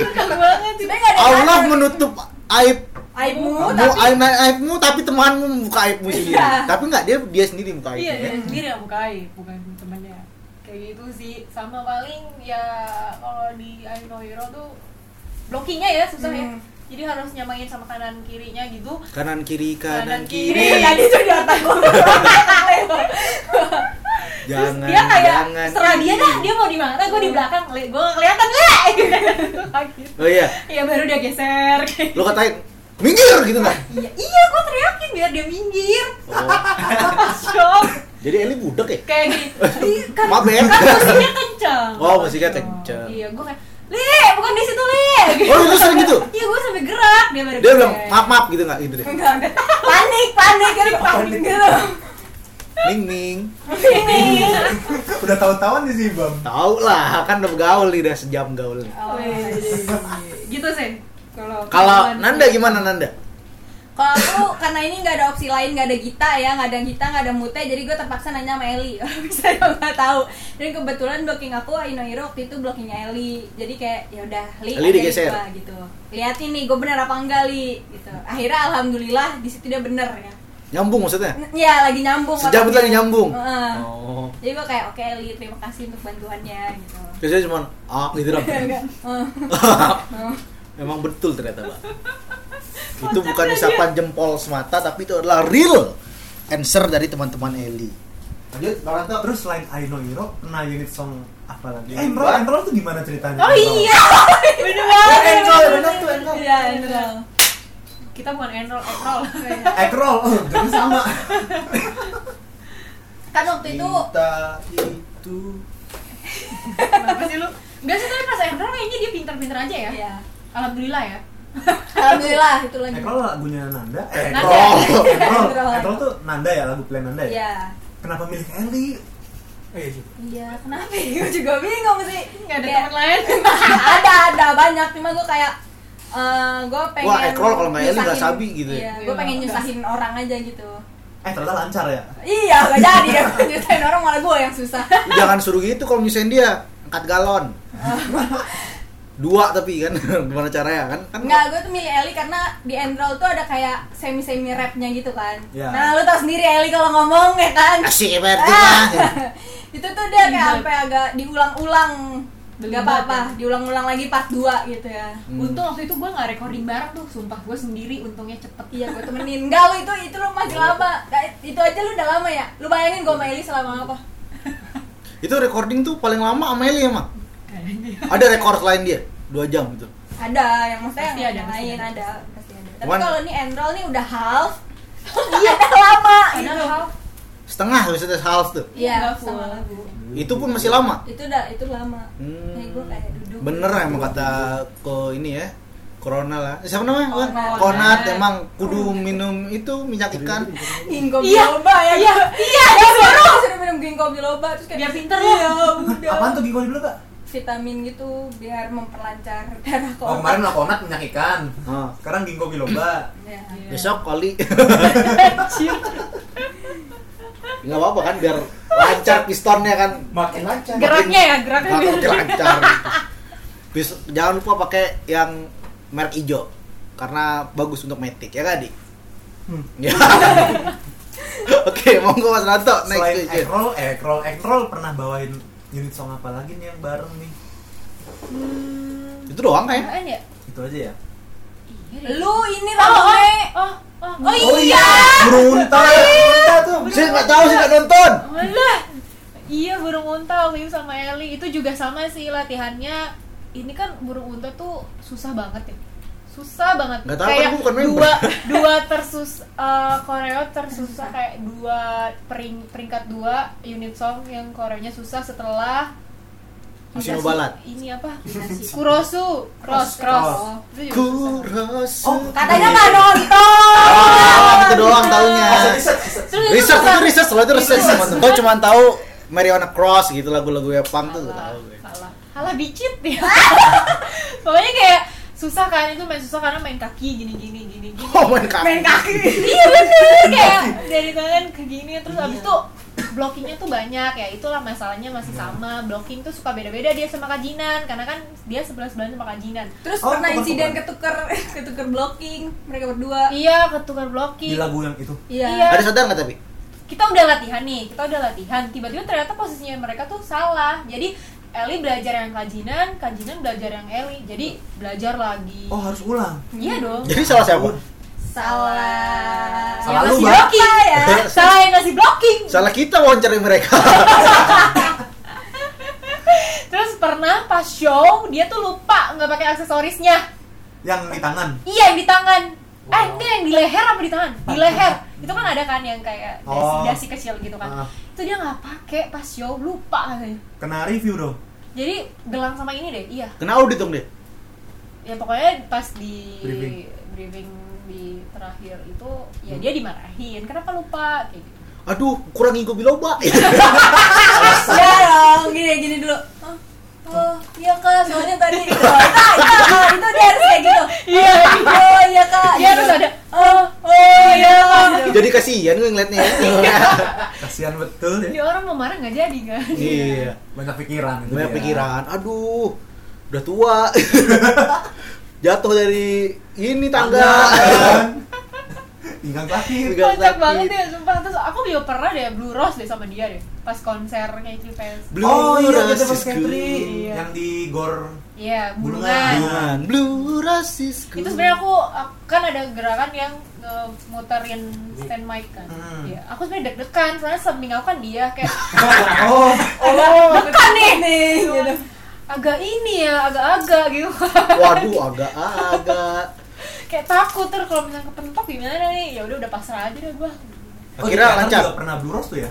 B: Kekal iya, banget sih
A: Sebenarnya nggak ada yang
E: Allah
A: ngatur.
E: menutup aib
A: aibmu
E: mu,
A: tapi
E: aib, aibmu tapi temanmu buka aibmu sendiri.
A: Iya.
E: Tapi enggak dia dia sendiri buka
B: Iya dia
E: aibnya.
B: sendiri yang buka aib Bukan temennya Kayak gitu sih Sama paling ya kalau di I Know Hero tuh Blockingnya ya susah ya
A: Hmm.
B: Jadi harus nyamain sama kanan kirinya gitu
E: Kanan kiri kanan,
A: Iya,
B: Kanan,
E: kiri.
B: kiri.
A: tadi tuh di otak gue.
E: jangan
A: dia kayak
E: jangan
A: serah dia dah dia mau di mana gue di belakang gue kelihatan [laughs] lah
E: oh iya
A: ya baru dia geser
E: lo katain minggir gitu nggak
A: [laughs] iya iya gue teriakin biar dia minggir
E: oh,
A: shock
E: jadi Eli budak ya
A: kayak gini "Li, kan
E: Maaf, Ben.
A: kan musiknya kenceng
E: oh musiknya kenceng
A: iya gue kayak li bukan di situ li
E: oh lu sering gitu
A: iya gue sampai gerak dia baru
E: dia bilang
A: geser.
E: maaf maaf gitu nggak gitu deh
A: enggak enggak panik panik
B: kan
A: jadi panik gitu
E: ning ning
A: ini
F: Udah tahun-tahun di sih, Bang.
E: tau lah kan udah gaul nih udah sejam gaul nih.
A: Oh, iya, iya, iya. gitu sih kalau
E: kalau
A: kemauan.
E: Nanda gimana Nanda
A: kalau aku karena ini nggak ada opsi lain nggak ada Gita ya nggak ada Gita nggak ada Mute jadi gue terpaksa nanya sama Eli [laughs] bisa ya nggak tahu dan kebetulan blocking aku Aino Hiro waktu itu blockingnya Eli jadi kayak ya udah Li
E: Eli
A: ajarin
E: digeser.
A: gua," gitu liatin nih gue bener apa enggak Li gitu akhirnya alhamdulillah di situ dia bener ya
E: nyambung maksudnya
A: N- ya lagi nyambung
E: sejam
A: otaknya.
E: lagi nyambung
A: Heeh.
E: oh
A: jadi gue kayak oke Eli terima kasih untuk bantuannya gitu Oh.
E: biasanya cuma ah gitu dong
A: Iya, Heeh.
E: Memang betul ternyata
A: [laughs]
E: Pak. itu bukan isapan jempol semata tapi itu adalah real answer dari teman-teman Eli.
F: Lanjut, Bang Ranto. Terus selain I Know Hero, pernah unit song apa lagi?
E: Iya,
F: Enroll,
E: Bang.
F: Enroll tuh gimana ceritanya?
B: Oh
F: Enroll?
B: iya, bener banget.
F: Enroll, bener tuh Enroll.
A: [laughs] iya bener
B: Kita bukan eh, enroll, enroll.
F: Enroll, oh, jadi sama.
A: kan waktu itu
F: Cinta itu.
B: Kenapa sih lu? Enggak sih, tapi pas enroll kayaknya dia pinter-pinter aja ya.
E: Iya.
A: ya
B: Alhamdulillah ya.
A: alhamdulillah itu lagi
F: Enroll lagunya Nanda. Eh,
B: Nanda.
F: Enroll.
B: [laughs]
F: Enroll.
A: Enroll.
F: Enroll tuh Nanda ya, lagu plan Nanda
B: Iya.
F: ya.
A: ya
F: Kenapa milih Eli?
G: Iya sih.
A: Iya, kenapa ya? Gue juga bingung sih.
B: Enggak ada
A: Kayak-
B: teman lain.
A: [laughs] ada, ada banyak. Cuma gue kayak eh gue pengen
E: Wah, Ekrol kalau nggak Eli nggak
A: nyusahin-
E: sabi gitu ya.
A: Iya, gue pengen nyusahin orang aja gitu.
F: Eh, ternyata lancar ya.
A: Iya, gak
E: [laughs]
A: jadi ya. Nyusahin orang malah gue yang susah.
E: Lu Jangan suruh gitu kalau nyusahin dia, angkat
A: [laughs]
E: galon. Dua tapi kan [laughs] gimana caranya kan? Kan
A: Enggak, gue tuh milih Eli karena di Endrol tuh ada kayak semi-semi rapnya gitu kan.
F: Iya.
A: Nah, lu tau sendiri Eli kalau ngomong ya kan.
E: asik berarti
A: [laughs]
E: mah.
A: itu tuh dia kayak sampai agak diulang-ulang. Gak
B: Delibat
A: apa-apa,
B: Iya. ya.
A: diulang-ulang lagi part 2 gitu ya.
E: Hmm.
B: Untung waktu itu gue nggak recording bareng tuh, sumpah gue sendiri untungnya cepet.
A: Iya gue temenin Enggak lu itu, itu lu masih lama Nah, Itu aja lu udah lama ya? Lu bayangin gue sama Eli selama apa?
E: Itu recording tuh paling lama sama Eli emang. Ada record lain dia, dua jam gitu.
A: Ada, yang maksudnya
B: Pasti
A: yang
B: ada, pasti
A: lain
B: ada.
A: ada, pasti ada. Tapi
E: Cuman-
A: kalau ini Enroll nih udah half Iya udah lama
B: Ada
A: gitu.
B: hal
E: Setengah biasanya half tuh.
A: Iya
B: Nggak full.
A: sama lagu
E: Itu pun masih lama.
A: Itu udah, itu lama Hmm.
E: Hmm.
A: Kayak gue kayak duduk [laughs] gitu.
E: bener emang kata ko ini ya corona lah Eh, siapa namanya Wan?
A: Konat.
E: konat emang kudu minum itu minyak ikan
A: Ginkgo
B: Iya,
A: biloba ya
B: iya,
A: iya Dia suruh suruh minum ginkgo biloba Terus kayak
B: Biar pinter lu.
A: Iya udah
F: Apaan tuh Gigo dulu, Kak?
A: Vitamin gitu biar memperlancar [laughs] darah ke
F: Oh,
A: otak
F: kemarin lakonat minyak ikan.
E: Ah.
F: Sekarang Ginkgo biloba.
A: [clears throat] Iya.
E: besok kali nggak apa-apa kan biar lancar pistonnya kan
G: Makin lancar.
B: Geraknya ya, geraknya.
E: Nggak apa-apa, lancar Bis- jangan lupa pakai yang merek ijo karena bagus untuk metik ya kan Dik? Ya. [laughs] Oke, monggo Mas Ranto, next
F: Selain eh,
E: question.
F: Ekrol, Ekrol, Ekrol pernah bawain unit song apa lagi nih yang bareng nih?
E: Itu doang kayak.
B: Apaan ya?
F: Itu aja ya.
A: Lu ini
B: Oh, oh,
A: rame
B: oh, oh,
A: Oh iya.
F: Burung
B: [laughs]
F: unta, unta tuh.
E: Saya nggak tahu, saya nggak nonton.
B: Alah. Iya burung unta waktu itu sama Eli itu juga sama sih latihannya. Ini kan burung unta tuh susah banget ya. Susah banget.
E: Nggak tahu,
B: kayak
E: kan bukan member. [laughs]
B: dua dua tersus eh, koreo tersusah kayak dua pering, peringkat dua unit song yang koreonya susah setelah
E: Shino Balad.
B: Ini apa? Kurosu, cross, cross. Itu juga susah.
E: Kurosu.
F: Oh,
A: Katanya nggak nonton.
E: Ah, itu doang tahunya.
B: Terus itu
E: Research
B: susah.
E: itu research, lo itu research teman-teman. Gue cuma tahu Mariana Cross gitu lagu-lagu ya punk tuh gak tahu gue.
B: Salah. Salah bicit ya. [laughs] Pokoknya kayak susah kan itu main susah karena main kaki gini gini gini gini.
E: Oh main kaki.
B: iya bener kayak dari tangan ke gini terus abis itu blockingnya tuh banyak ya itulah masalahnya masih sama blocking tuh suka beda-beda dia sama kajinan karena kan dia sebelah sebelahan sama kajinan
A: Terus
F: Oh,
A: pernah
F: tukar-tukar.
A: insiden ketuker ketuker [laughs] blocking mereka berdua.
B: iya ketukar
F: Di
B: blocking
F: lagu yang itu.
A: [laughs] Iya.
E: Ada sadar nggak tapi?
B: kita udah latihan nih kita udah latihan tiba-tiba ternyata posisinya mereka tuh salah jadi Eli belajar yang kajinan kajinan belajar yang Eli jadi belajar lagi
F: Oh, harus ulang.
B: iya dong
E: Jadi salah siapa?
A: salah
F: Salah
A: yang
F: lu,
A: ngasih
F: Mbak.
A: blocking ya
F: [laughs]
B: salah yang ngasih blocking
E: Salah kita wawancarai mereka. [laughs]
B: terus pernah pas show dia tuh lupa nggak pakai aksesorisnya
F: yang di tangan
B: iya yang di tangan eh
H: Wow.
B: enggak yang di leher apa di tangan di leher itu kan ada kan yang kayak dasi
F: Oh.
B: dasi kecil gitu kan
F: Ah.
B: itu dia nggak pakai pas show lupa katanya
F: kena review dong
B: jadi gelang sama ini deh iya
E: Kena audit dong deh.
B: ya pokoknya pas di
F: Briefing. Hmm.
B: briefing di terakhir itu ya dia dimarahin kenapa lupa kayak gitu
E: Aduh, kurang ego biloba.
A: ya dong gini gini dulu Oh, Oh, iya kak, soalnya
B: [laughs]
A: tadi gitu. Nah, itu, oh, itu dia harus kayak gitu.
B: iya
A: Oh, iya kak.
B: dia harus
A: gitu.
B: ada
A: Oh, oh iya kak.
E: [laughs] Jadi kasihan gue ngeliatnya ya.
F: kasihan betul
B: ini
F: ya
B: orang mau marah nggak jadi kan
E: Iya.
F: banyak pikiran itu
E: Banyak
F: dia.
E: pikiran. Aduh, udah tua. [laughs] Jatuh dari ini [laughs] tangga.
F: Kan? pinggang sakit
E: Nggak
B: kocak
E: sakit.
B: banget ya sumpah terus aku juga pernah deh Blue Rose deh sama dia deh pas konsernya itu fans
E: Blue
F: oh iya kita
E: Rose
F: pas
E: is
F: Katri
E: good.
B: Iya.
F: yang di gor
B: iya
F: Bulungan.
B: bulungan
E: Bukan. Blue Rose is good.
B: itu sebenarnya aku kan ada gerakan yang nge- muterin stand mic kan
F: Hmm.
B: Iya. aku sebenarnya deg-degan soalnya samping aku kan dia kayak
F: [laughs] oh
B: oh
A: Bukan nih. nih gitu.
B: agak ini ya agak-agak gitu [laughs]
E: Waduh, agak-agak.
B: kayak takut terus kalau misalnya kepentok gimana nih ya udah udah pasrah aja deh gua
F: Oh, di
E: Akhirnya
F: Qatar
E: lancar.
F: juga pernah Blue Rose tuh ya?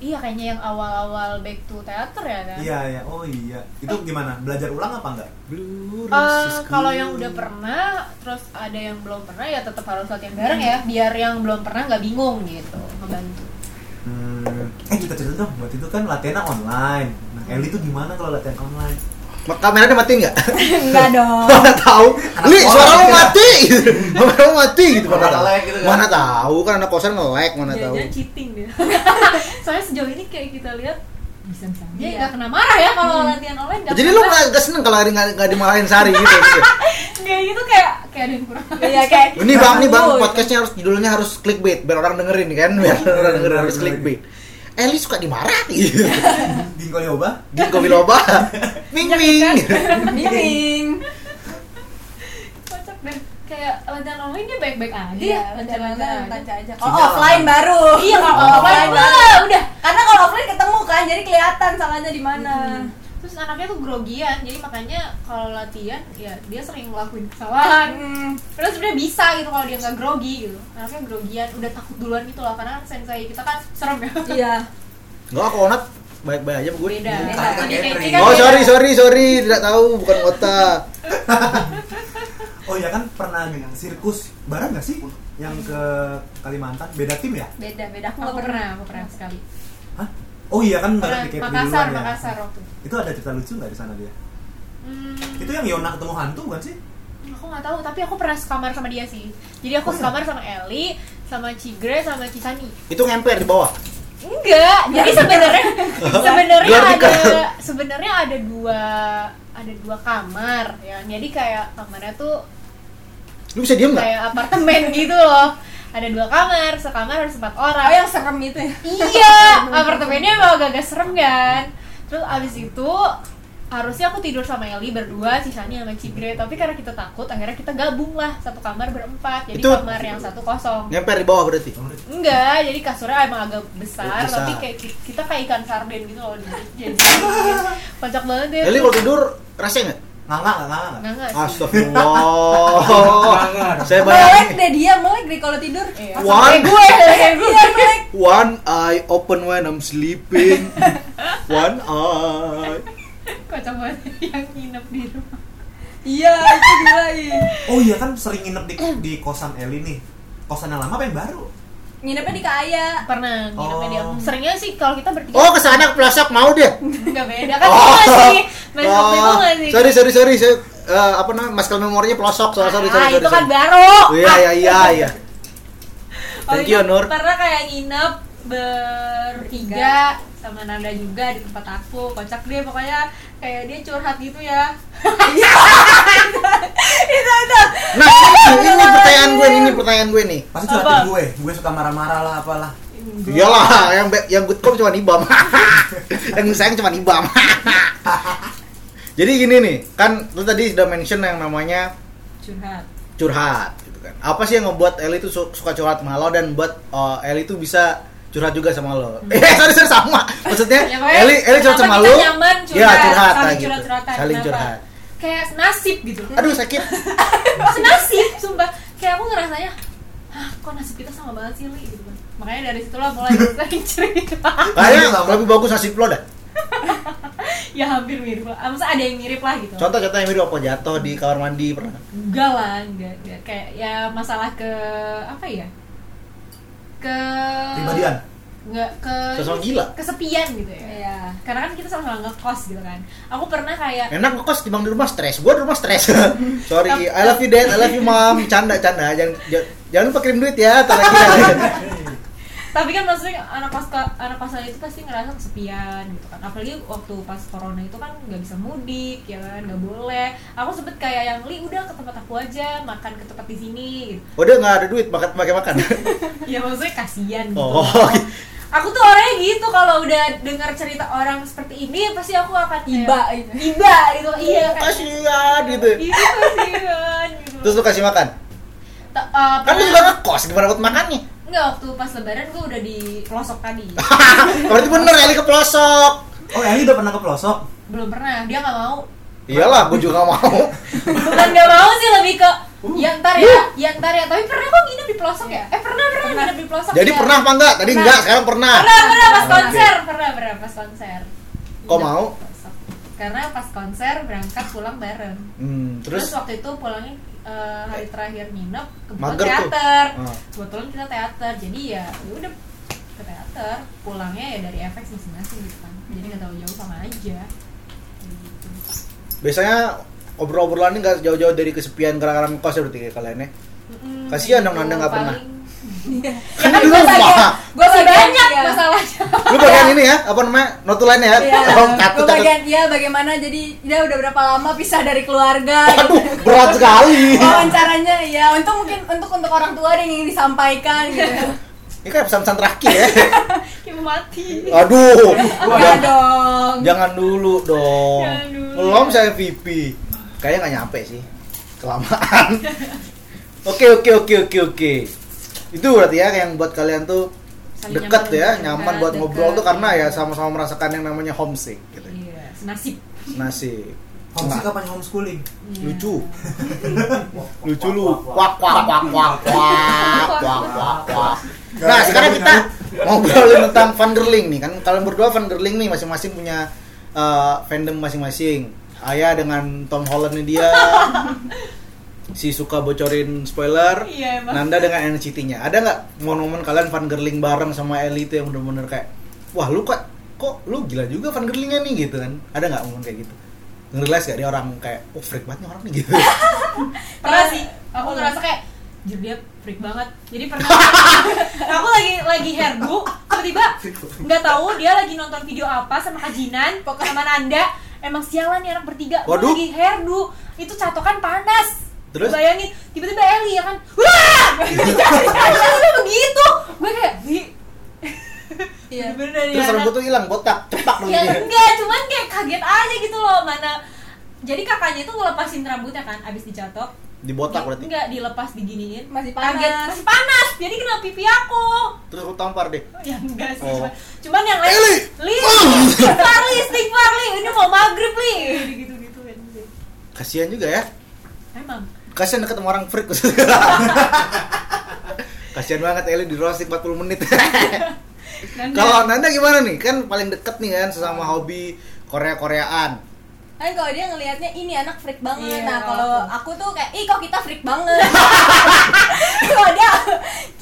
B: iya kayaknya yang awal-awal back to teater ya kan
F: Iya, iya. Oh iya. Itu gimana? Belajar ulang apa enggak?
E: Blue
B: Eh,
E: Rose is good.
B: kalau yang udah pernah, terus ada yang belum pernah ya tetap harus latihan bareng ya, biar yang belum pernah nggak bingung gitu, membantu.
F: Hmm. Eh, kita cerita dong. Waktu itu kan latihannya online. Nah, Eli tuh gimana kalau latihan online?
E: Ma- Kameranya matiin nggak?
A: Enggak
E: [laughs]
A: dong.
E: mana tahu li
F: kosan
B: gitu.
E: suara lu
F: kira.
E: mati [laughs] suara lu mati gitu mana
H: Orang
E: tahu
H: nge-lag gitu kan.
E: mana tahu kan anak kosan nge-lag mana tahu
B: Jangan-jangan cheating deh. Soalnya sejauh ini kayak kita lihat bisa bisa.
F: Iya.
B: Dia nggak kena marah ya
F: Hmm.
B: kalau latihan online. nggak
E: jadi lu
B: pernah.
E: nggak nggak seneng kalau hari nggak nggak dimarahin sehari gitu
B: [laughs] kayak gitu kayak kayak ada yang kurang.
A: [laughs] Iya kayak.
E: ini bang ini bang
A: Gitu. [laughs]
E: podcastnya harus judulnya harus clickbait biar orang dengerin kan
H: [laughs]
E: biar orang dengerin
H: Iya,
E: harus clickbait Eli suka [laughs] dimarahi
F: Bingko Yoba?
E: di kopi
B: [laughs]
E: loba ming
B: kan?
E: ming
A: Miring.
B: Kocak deh. Kayak latihan online dia baik-baik aja.
A: Iya,
B: ya,
A: rencana baca aja. Kalau
F: Sudah
A: offline baru.
B: Iya kalau
A: Kalau
B: offline wah, oh, udah.
A: Karena kalau offline ketemu kan, jadi kelihatan salahnya di mana.
B: Terus anaknya tuh grogian, jadi makanya kalau latihan ya dia sering ngelakuin kesalahan.
A: Hmm.
B: Padahal sebenarnya bisa gitu kalau dia nggak grogi gitu. Anaknya grogian, udah takut duluan gitu lah karena kan sensei kita kan serem [laughs] ya.
A: Iya.
E: nggak aku onat baik baik aja sama gue
B: Beda.
A: Beda.
B: Kalau di
F: Katanya
B: kece
F: Katrin.
B: kan
E: Iya, oh
B: beda.
E: sorry sorry sorry tidak tahu bukan
B: [laughs]
E: kota
F: Oh iya kan pernah sirkus bareng nggak sih? Yang ke Kalimantan beda tim ya?
A: Beda, beda. Aku
B: Aku
A: nggak
B: pernah, aku pernah sekali.
F: Hah? Oh iya kan
B: Pernah
F: nggak dikit
B: Makassar,
F: duluan ya?
B: Makassar waktu. itu.
F: Itu ada cerita lucu nggak di sana dia?
B: Hmm,
F: Itu yang Yona ketemu hantu bukan sih?
B: aku nggak tahu, tapi aku pernah sekamar sama dia sih. Jadi aku sekamar sama Eli, sama Cigre, sama Cisani.
E: itu ngemper di bawah
B: Enggak, jadi sebenarnya
A: [laughs]
B: sebenarnya
E: Gelar
B: ada
E: nikah.
B: sebenarnya ada dua ada dua kamar ya. Jadi kayak kamarnya tuh
E: lu bisa diem nggak
B: kayak
A: [laughs]
B: apartemen gitu loh. Ada dua kamar, sekamar harus empat orang.
A: Oh yang serem itu ya?
B: Iya, apartemennya emang agak-agak serem kan. Terus abis itu harusnya aku tidur sama Eli berdua, sisanya sama Cigre. Tapi karena kita takut, akhirnya kita gabung lah satu kamar berempat. Jadi
E: Itu-
B: kamar yang satu kosong.
E: ngemper di bawah berarti
B: Enggak, jadi kasurnya emang agak besar,
E: Besar.
B: tapi kayak ki- kita kayak ikan sarden gitu loh. Jadi kocak banget ya.
E: Eli kalau tidur rasanya nggak
F: Nganga nggak nganga nggak?
B: Enggak enggak sih.
E: Astagfirullah. Oh. Saya
A: Melek
E: bayangin
A: deh dia, melek deh kalau tidur.
B: Iya.
A: Langsung
E: one
A: Gue, [laughs] kayak gue melek.
E: one eye open when I'm sleeping. One eye.
B: [laughs] Kocak banget yang nginep di rumah.
A: Iya, itu gila iya.
F: Oh iya kan sering nginep di, di kosan Eli nih. Kosan yang lama apa yang baru?
A: Nginepnya di kaya.
B: Pernah nginepnya dia.
F: Oh.
B: Seringnya sih kalau kita bertiga
E: Oh, ke sana pelosok mau deh.
B: enggak beda kan oh. masih masih waktu itu
E: Oh,
B: masih.
E: sorry sorry sorry. Saya, eh, apa namanya? Masker memorinya pelosok. Sorry sorry sorry.
B: Ah,
E: sorry,
B: itu kan
E: sorry.
B: baru.
E: Iya iya iya iya.
B: Oh,
E: Thank
B: itu
E: you Nur.
B: Pernah kayak nginep bertiga sama Nanda juga di tempat aku. Kocak deh pokoknya kayak dia curhat gitu ya.
E: Nah, ini, ini pertanyaan gue nih, ini pertanyaan gue nih.
F: Pasti
B: Apa?
F: curhatin gue. Gue suka marah-marah lah apalah.
A: Hmm.
E: Iyalah, yang be- yang good cop cuma Ibam. [laughs] yang sayang cuma [laughs] Ibam. Jadi gini nih, kan lu tadi sudah mention yang namanya
B: Curhat.
E: curhat gitu kan. Apa sih yang ngebuat Eli tuh su- suka curhat sama lo dan buat uh, Eli tuh bisa curhat juga sama lo? [laughs] Eh, sorry, sorry sama. Maksudnya
A: Hmm. Ya, pokoknya
E: Eli Eli curhat
A: kenapa
E: sama
A: kita
E: lo.
A: nyaman
E: Ya, curhat
A: curhat, saling
E: lah gitu.
A: curhat-curhatan,
E: Saling
A: kenapa? Hmm.
E: curhat.
C: kayak nasib gitu
E: Aduh, sakit.
C: nasib sumpah kayak aku ngerasanya Hah, kok nasib kita sama banget sih Li gitu kan
B: Makanya dari situlah mulai sering cerita.
E: Kayaknya lebih bagus nasib lo dah.
B: ya hampir mirip lah. Ah, Maksudnya ada yang mirip lah gitu.
E: Contoh-contoh yang mirip apa jatuh di kamar mandi pernah?
B: Enggak lah, enggak, enggak. Kayak ya masalah ke apa ya? Ke
F: Pribadian.
B: Enggak ke
E: Sosok gila.
B: Kesepian gitu ya.
A: Iya.
B: Karena kan kita sama-sama ngekos gitu kan. Aku pernah kayak
E: Enak ngekos dibang di rumah stres. Gua di rumah stres. [laughs] Sorry, I love you dad, I love you mom. Canda, canda. Jangan jangan- jangan lupa kirim duit ya. Ntar [laughs] lagi.
B: tapi kan maksudnya anak pas anak pasar itu pasti ngerasa kesepian gitu kan apalagi waktu pas corona itu kan nggak bisa mudik ya kan nggak boleh aku sempet kayak yang li udah ke tempat aku aja makan ke tempat di sini gitu
E: Udah nggak ada duit makan pakai makan. [laughs]
B: ya maksudnya kasihan gitu
E: Oh, [laughs] oke.
B: aku tuh orangnya gitu kalau udah dengar cerita orang seperti ini pasti aku akan kayak-
A: Iba itu.
B: iba gitu iya kan
E: Kasihan gitu.
B: iya kasihan gitu
E: Terus lu kasih makan.
B: Ta- uh,
E: Kan
B: pernah-
E: lu juga ngekos, gimana buat makannya?
B: nggak waktu pas lebaran gue udah di pelosok
E: [laughs]
B: tadi
E: Berarti bener Eli kepelosok.
F: Oh, Eli udah pernah ke pelosok?
B: belum pernah dia nggak mau
E: Iyalah, gua juga nggak mau.
B: bukan nggak mau sih lebih ke
E: Uh.
B: ya ntar ya ya ntar ya tapi pernah kok nginep di pelosok ya eh pernah pernah, nginep di pelosok
E: Jadi
B: ya.
E: pernah apa enggak? Tadi
B: Pernah.
E: enggak, sekarang pernah.
B: pernah pernah pas konser pernah pernah pas konser
E: Kok
B: Nginep
E: mau?
B: di pelosok. karena pas konser berangkat pulang bareng
E: Hmm,
B: terus,
E: terus
B: waktu itu pulangnya eh, hari terakhir nginep kebetulan
E: Mager tuh.
B: teater
E: Ah.
B: kebetulan kita teater jadi ya ya udah ke teater pulangnya ya dari efek masing-masing gitu kan jadi nggak tahu jauh sama aja gitu.
E: biasanya obrol-obrolannya nggak jauh-jauh dari kesepian gara-gara ngekos ya berarti ya kalian ya.
B: Mm-mm,
E: Kasihan dong
B: gitu.
E: Nanda nggak pernah.
B: Paling-
E: Kan di rumah.
A: Gue
B: masih banyak
A: banyak masalah.
B: masalahnya
E: Lu bagian ini ya, apa namanya? Notulannya ya.
B: Iya.
E: Tolong catat
A: Gue
E: catat.
A: bagian dia bagaimana jadi dia udah berapa lama pisah dari keluarga gitu.
E: Aduh, berat sekali.
B: Oh.
A: wawancaranya ya untuk mungkin untuk untuk orang tua ada yang ingin disampaikan
E: [laughs]
A: gitu
E: Ini kayak pesan-pesan terakhir
B: [laughs]
E: ya.
B: kayak mau mati
E: Aduh.
A: ya
E: jangan-
A: dong
E: Jangan dulu dong.
B: Jangan dulu.
E: Belum saya MVP. Kayaknya nggak nyampe sih.
B: [laughs]
E: Kelamaan. oke oke oke oke oke. Itu berarti ya yang buat kalian tuh
B: Saling
E: deket
B: nyaman,
E: ya,
B: deket,
E: nyaman buat
B: deket.
E: ngobrol tuh karena ya sama-sama merasakan yang namanya homesick gitu.
B: iya senasib
E: Nasi.
F: Homesick kapan homeschooling?
B: Iya. [laughs]
E: Lucu. Lucu lu. Kuak kuak kuak kuak kuak kuak kuak kuak. Nah, sekarang kita ngobrolin tentang Vanderling nih kan. Kalian berdua Vanderling nih masing-masing punya eh, fandom masing-masing. Ayah dengan Tom Holland dia. si suka bocorin spoiler.
B: Iya, emang.
E: Nanda dengan NCT-nya. Ada nggak momen-momen kalian Vanderling bareng sama Ellie itu yang bener-bener kayak wah lu kok kok lu gila juga Vanderlingnya nih gitu kan. Ada nggak momen kayak gitu? Ngerealize gak dia orang kayak, oh freak banget nih orang nih gitu
B: pernah sih aku ngerasa kayak jadi dia freak banget jadi [laughs] pernah aku lagi lagi herbu tiba-tiba nggak tahu dia lagi nonton video apa sama kajinan pokoknya sama Nanda emang sialan nih anak bertiga Gua
E: Waduh.
B: lagi herbu itu catokan panas
E: Terus?
B: bayangin tiba-tiba Eli ya kan wah [laughs] tiba-tiba begitu gue kayak di
A: Iya.
B: bener dari
E: Terus
B: anak-
E: rambut tuh hilang, botak, cepak dong
B: ya
E: dia
B: enggak cuman kayak kaget aja gitu loh mana jadi kakaknya itu ngelepasin rambutnya kan abis dicatok
E: Di botak berarti
B: enggak dilepas diginiin
A: Masih
B: kaget
A: panas.
B: masih panas jadi kena pipi aku
E: Terus lu tampar deh
B: ya enggak sih
E: Oh.
B: cuman, cuman yang lain li istighfar li istighfar li ini mau maghrib li gitu gitu
E: Kasian juga ya
B: emang
E: Kasian deket sama orang freak [laughs] Kasian banget Eli di roasting 40 menit
B: Nanda.
E: [laughs] Kalau Nanda gimana nih? Kan paling deket nih kan sesama hobi Korea-Koreaan
A: kan kalau dia ngelihatnya ini anak freak banget
B: Iya,
A: nah
B: kalau
A: kalau aku tuh kayak ih kok kita freak banget [laughs] kalau dia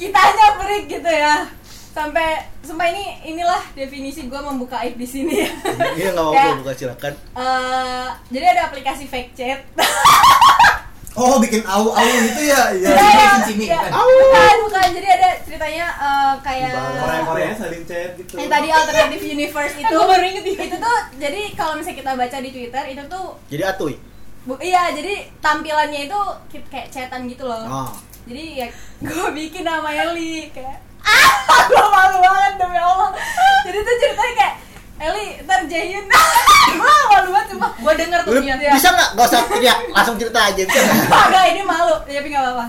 A: kitanya freak gitu ya sampai sampai ini inilah definisi gue membuka aib di sini ya [laughs]
E: Iya gak apa-apa, buka silakan
A: Eh, jadi ada aplikasi fake chat
F: Oh, bikin au-au itu ya? Iya.
A: Iya, iya.
H: Cincin,
A: [laughs] Iya.
H: bukan?
A: bukan bukan jadi ada ceritanya eh, kayak
F: Korea-Korea saling chat gitu.
A: yang Iya, tadi alternative
B: [laughs]
A: universe itu
B: Aku baru inget
A: itu tuh jadi kalau misalnya kita baca di twitter itu tuh
E: Jadi atuy
A: bu- iya jadi tampilannya itu ki- kayak chatan gitu loh
E: Oh.
A: jadi ya [laughs] gue
B: [laughs]
A: bikin nama Eli kayak ah gue malu banget demi Allah jadi tuh ceritanya kayak Eli terjayun [laughs] wah malu banget cuma
B: Gue denger
A: Oh,
B: tuh
E: Lu
A: iya,
B: Nian.
E: bisa nggak gak usah ya langsung cerita aja bisa nggak?
A: enggak ini malu Ya, tapi nggak apa-apa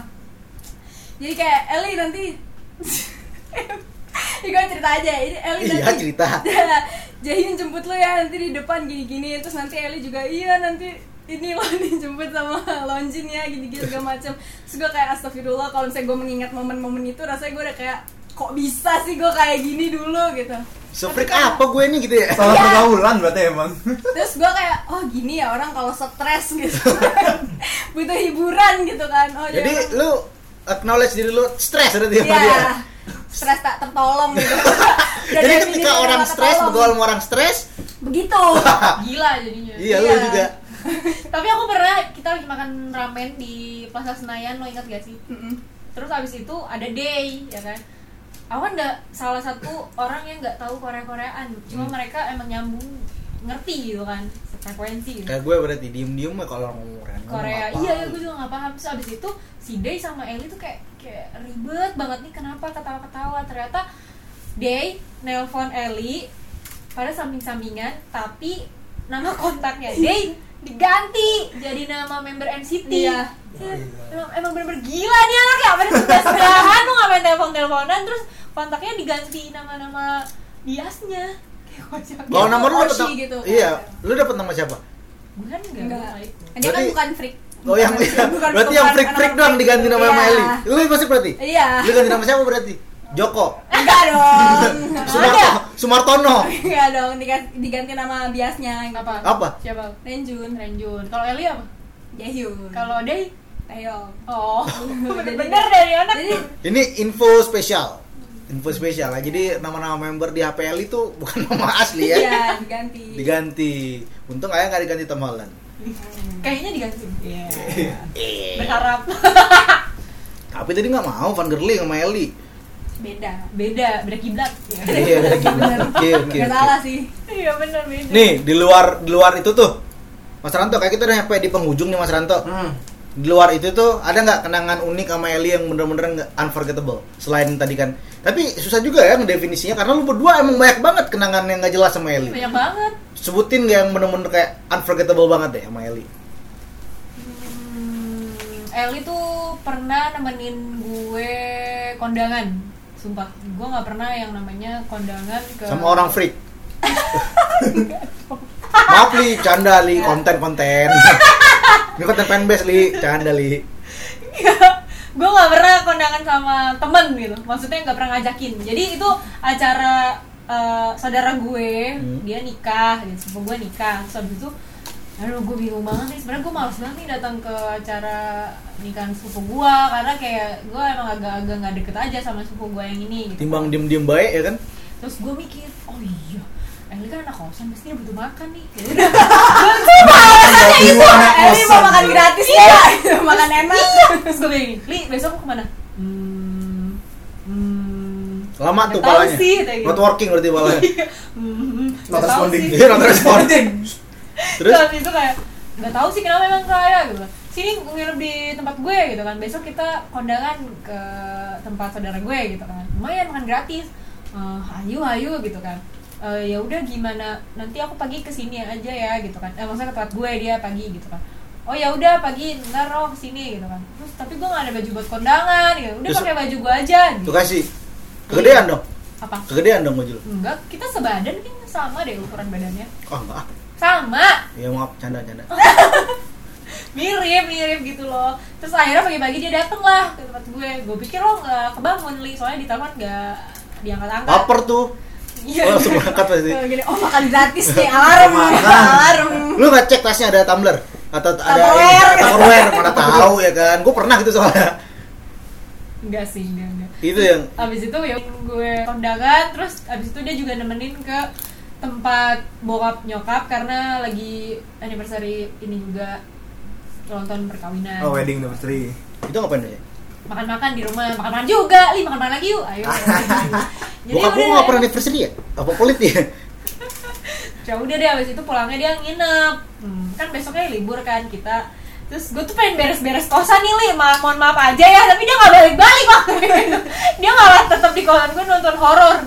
A: jadi kayak Eli nanti [laughs] Ini gue cerita aja, ini Eli
E: Iya,
A: nanti
E: cerita.
A: [laughs] Jahin jemput lo ya nanti di depan gini-gini Terus nanti Eli juga, iya nanti ini lo dijemput sama Lonjin ya gini-gini segala macem Terus gue kayak astagfirullah kalau misalnya gue mengingat momen-momen itu rasanya gue udah kayak Kok bisa sih gue kayak gini dulu gitu
E: So freak apa gue nih gitu ya?
A: Iya.
F: Salah pergaulan berarti emang.
A: terus gue kayak oh gini ya orang kalau stres gitu [laughs] butuh hiburan gitu kan oh
E: Jadi
A: dia-
E: lu acknowledge diri lu stres berarti ya? sama dia?
A: Iya, stres tak tertolong
E: [laughs]
A: gitu Dan
E: Jadi
A: definisi
E: ketika
A: yang
E: orang
A: tak
E: stres,
A: tertolong.
E: bergaul sama orang stres, [laughs]
A: begitu
B: Gila jadinya.
E: iya lu
A: Iya.
E: juga
B: Tapi aku pernah kita lagi makan ramen di Plaza Senayan, lo ingat gak sih?
A: Mm-mm.
B: Terus abis itu ada day, ya kan? Aku kan nggak salah satu orang yang nggak tahu Korea-Koreaan, cuma
E: Hmm.
B: mereka emang nyambung ngerti gitu kan, frekuensi. Gitu.
E: kayak gue berarti diem-diem ya kalau orang gitu. ngomong Korea.
B: Korea, iya ya gue juga nggak paham. Terus abis itu si Day sama Ellie tuh kayak kayak ribet banget nih kenapa ketawa-ketawa ternyata Day nelpon Ellie pada samping-sampingan tapi nama [laughs] kontaknya Day diganti jadi nama member NCT.
A: Iya.
B: Ya, Emang, emang bener-bener gila nih anak ya, pada sebelah-sebelahan lu ngapain telepon-teleponan terus kontaknya diganti nama-nama biasnya. Kayak kocak.
E: Bawa
A: Dia
E: nomor lu
A: tuh
E: dapet
A: Oshi
E: nama-
A: gitu.
E: Iya, lu dapet nama siapa?
B: Gue kan enggak,
A: Enggak.
B: baik.
A: dia kan
E: Berarti-
A: bukan freak
E: Oh yang [laughs]
A: Bukan-
E: berarti
A: bukan
E: yang freak-freak
A: anak-anak
E: doang diganti nama sama
A: Iya.
E: Eli. Lu masih berarti?
A: iya
E: Lu ganti nama siapa berarti? Joko. [laughs]
A: enggak
B: [laughs]
A: dong
E: Sumarto, Sumartono.
A: enggak dong diganti, diganti nama biasnya
B: Apa?
E: Apa?
B: Siapa?
A: Renjun
B: Renjun. Kalau Ellie apa?
A: Jaehyun
B: Kalau Day?
A: Taeyong
B: Oh, [laughs] bener-bener dari anak.
A: jadi
E: Ini info spesial. Info spesial. lah. Jadi nama-nama member di HPL itu bukan [laughs] nama asli ya.
A: iya diganti
E: Diganti. Untung ayah nggak diganti Tom Holland.
B: Kayaknya diganti. Iya.
E: Eh,
B: Berharap
E: Tapi tadi nggak mau Van Gerling sama Eli.
A: beda
B: beda, beda kiblat. Iya.
E: Iya, udah gini. Oke, oke, oke.
A: Gak salah sih
B: Iya bener beda.
E: Nih, di luar di luar itu tuh. Mas Ranto, kayak kita udah nyampe di penghujung nih Mas Ranto.
H: Hmm.
E: Di luar itu tuh ada nggak kenangan unik sama Eli yang bener-bener nggak- unforgettable selain tadi kan. Tapi susah juga ya ngedefinisinya karena lu berdua emang banyak banget kenangan yang nggak jelas sama Eli.
B: Banyak banget.
E: Sebutin nggak yang bener-bener kayak unforgettable banget deh sama Eli.
B: Hmm, Eli tuh pernah nemenin gue kondangan. Sumpah, gue nggak pernah yang namanya kondangan ke
E: Sama orang
B: [laughs]
E: freak. Maaf li, canda li, konten-konten. Ini konten fanbase li, canda li.
B: gue nggak pernah kondangan sama temen gitu maksudnya nggak pernah ngajakin jadi itu acara eh, saudara gue
E: Hmm.
B: dia nikah gitu sepupu gue nikah terus habis itu aduh gue bingung banget nih sebenarnya gue males banget nih datang ke acara nikahan sepupu gue karena kayak gue emang agak-agak nggak deket aja sama sepupu gue yang ini gitu
E: Timbang diem-diem baik ya kan?
B: terus gue mikir oh iya Eli kan anak kosan pasti dia butuh makan nih
E: [laughs]
B: ya udah gue
F: Iya,
B: alasannya itu
A: Iya, Eli Eh, mau makan gratis ya [laughs] makan enak
B: terus gue bilang gini, Iya. Li besok mau kemana? Hmm, hmm,
E: Lama
B: Nggak
E: tuh
B: tahu
E: palanya.
B: sih, kayak gitu.
E: Not working berarti palanya.
B: hmm,
H: Not
B: nggak tahu
H: responding.
B: sih.
E: Iya, not
B: [laughs]
E: responding.
B: Terus
E: Terus
B: habis itu kayak nggak tahu sih kenapa emang kaya gitu. Sini nginep di tempat gue gitu kan. Besok kita kondangan ke tempat saudara gue gitu kan. Lumayan makan gratis. Eh, ayo ayo gitu kan. Eh, ya udah gimana nanti aku pagi ke sini aja ya gitu kan. Eh, maksudnya ke tempat gue dia pagi gitu kan. Oh ya udah pagi ntar roh kesini gitu kan. Terus tapi gue nggak ada baju buat kondangan gitu. Udah
E: Terus-
B: pakai baju gue aja. Gitu.
E: tuh kan? kasih. Kegedean dong.
B: Apa?
E: Kegedean dong baju lu.
B: Enggak, kita sebadan kayaknya sama deh ukuran badannya.
E: Oh, enggak. ah.
B: Sama,
E: Ya maaf canda canda.
B: mirip mirip gitu loh. Terus akhirnya pagi-pagi dia dateng lah ke tempat gue. Gue pikir lo nggak kebangun li, soalnya di taman nggak diangkat-angkat.
E: Baper tuh.
B: Iya. [laughs]
E: Oh, langsung berangkat pasti.
A: Kalau gini, oh makan gratis
E: [laughs]
A: nih, alarm, alarm.
E: Lu nggak cek tasnya ada tumbler atau ada
A: Tupperware.
E: ini, Tupperware, mana tahu ya kan? Gue pernah gitu soalnya.
B: Enggak sih, enggak enggak.
E: Itu yang
B: Abis itu ya gue kondangan, terus abis itu dia juga nemenin ke tempat bokap nyokap karena lagi anniversary ini juga ulang tahun perkawinan.
E: iya.
F: Oh, wedding
A: [laughs]
F: anniversary.
E: itu ngapain deh?
B: makan-makan di rumah makan-makan juga li makan-makan lagi yuk
E: [laughs]
B: ayo jadi
E: Bokap gue
B: udah
E: nggak pernah anniversary ya? Apa pelit ya?
B: ya udah deh abis itu pulangnya dia nginep Hmm, kan besoknya libur kan kita terus gue tuh pengen beres-beres kosan nih li Ma mohon maaf [laughs] aja ya tapi dia nggak balik-balik waktu itu dia malah tetap di kosan gue nonton horor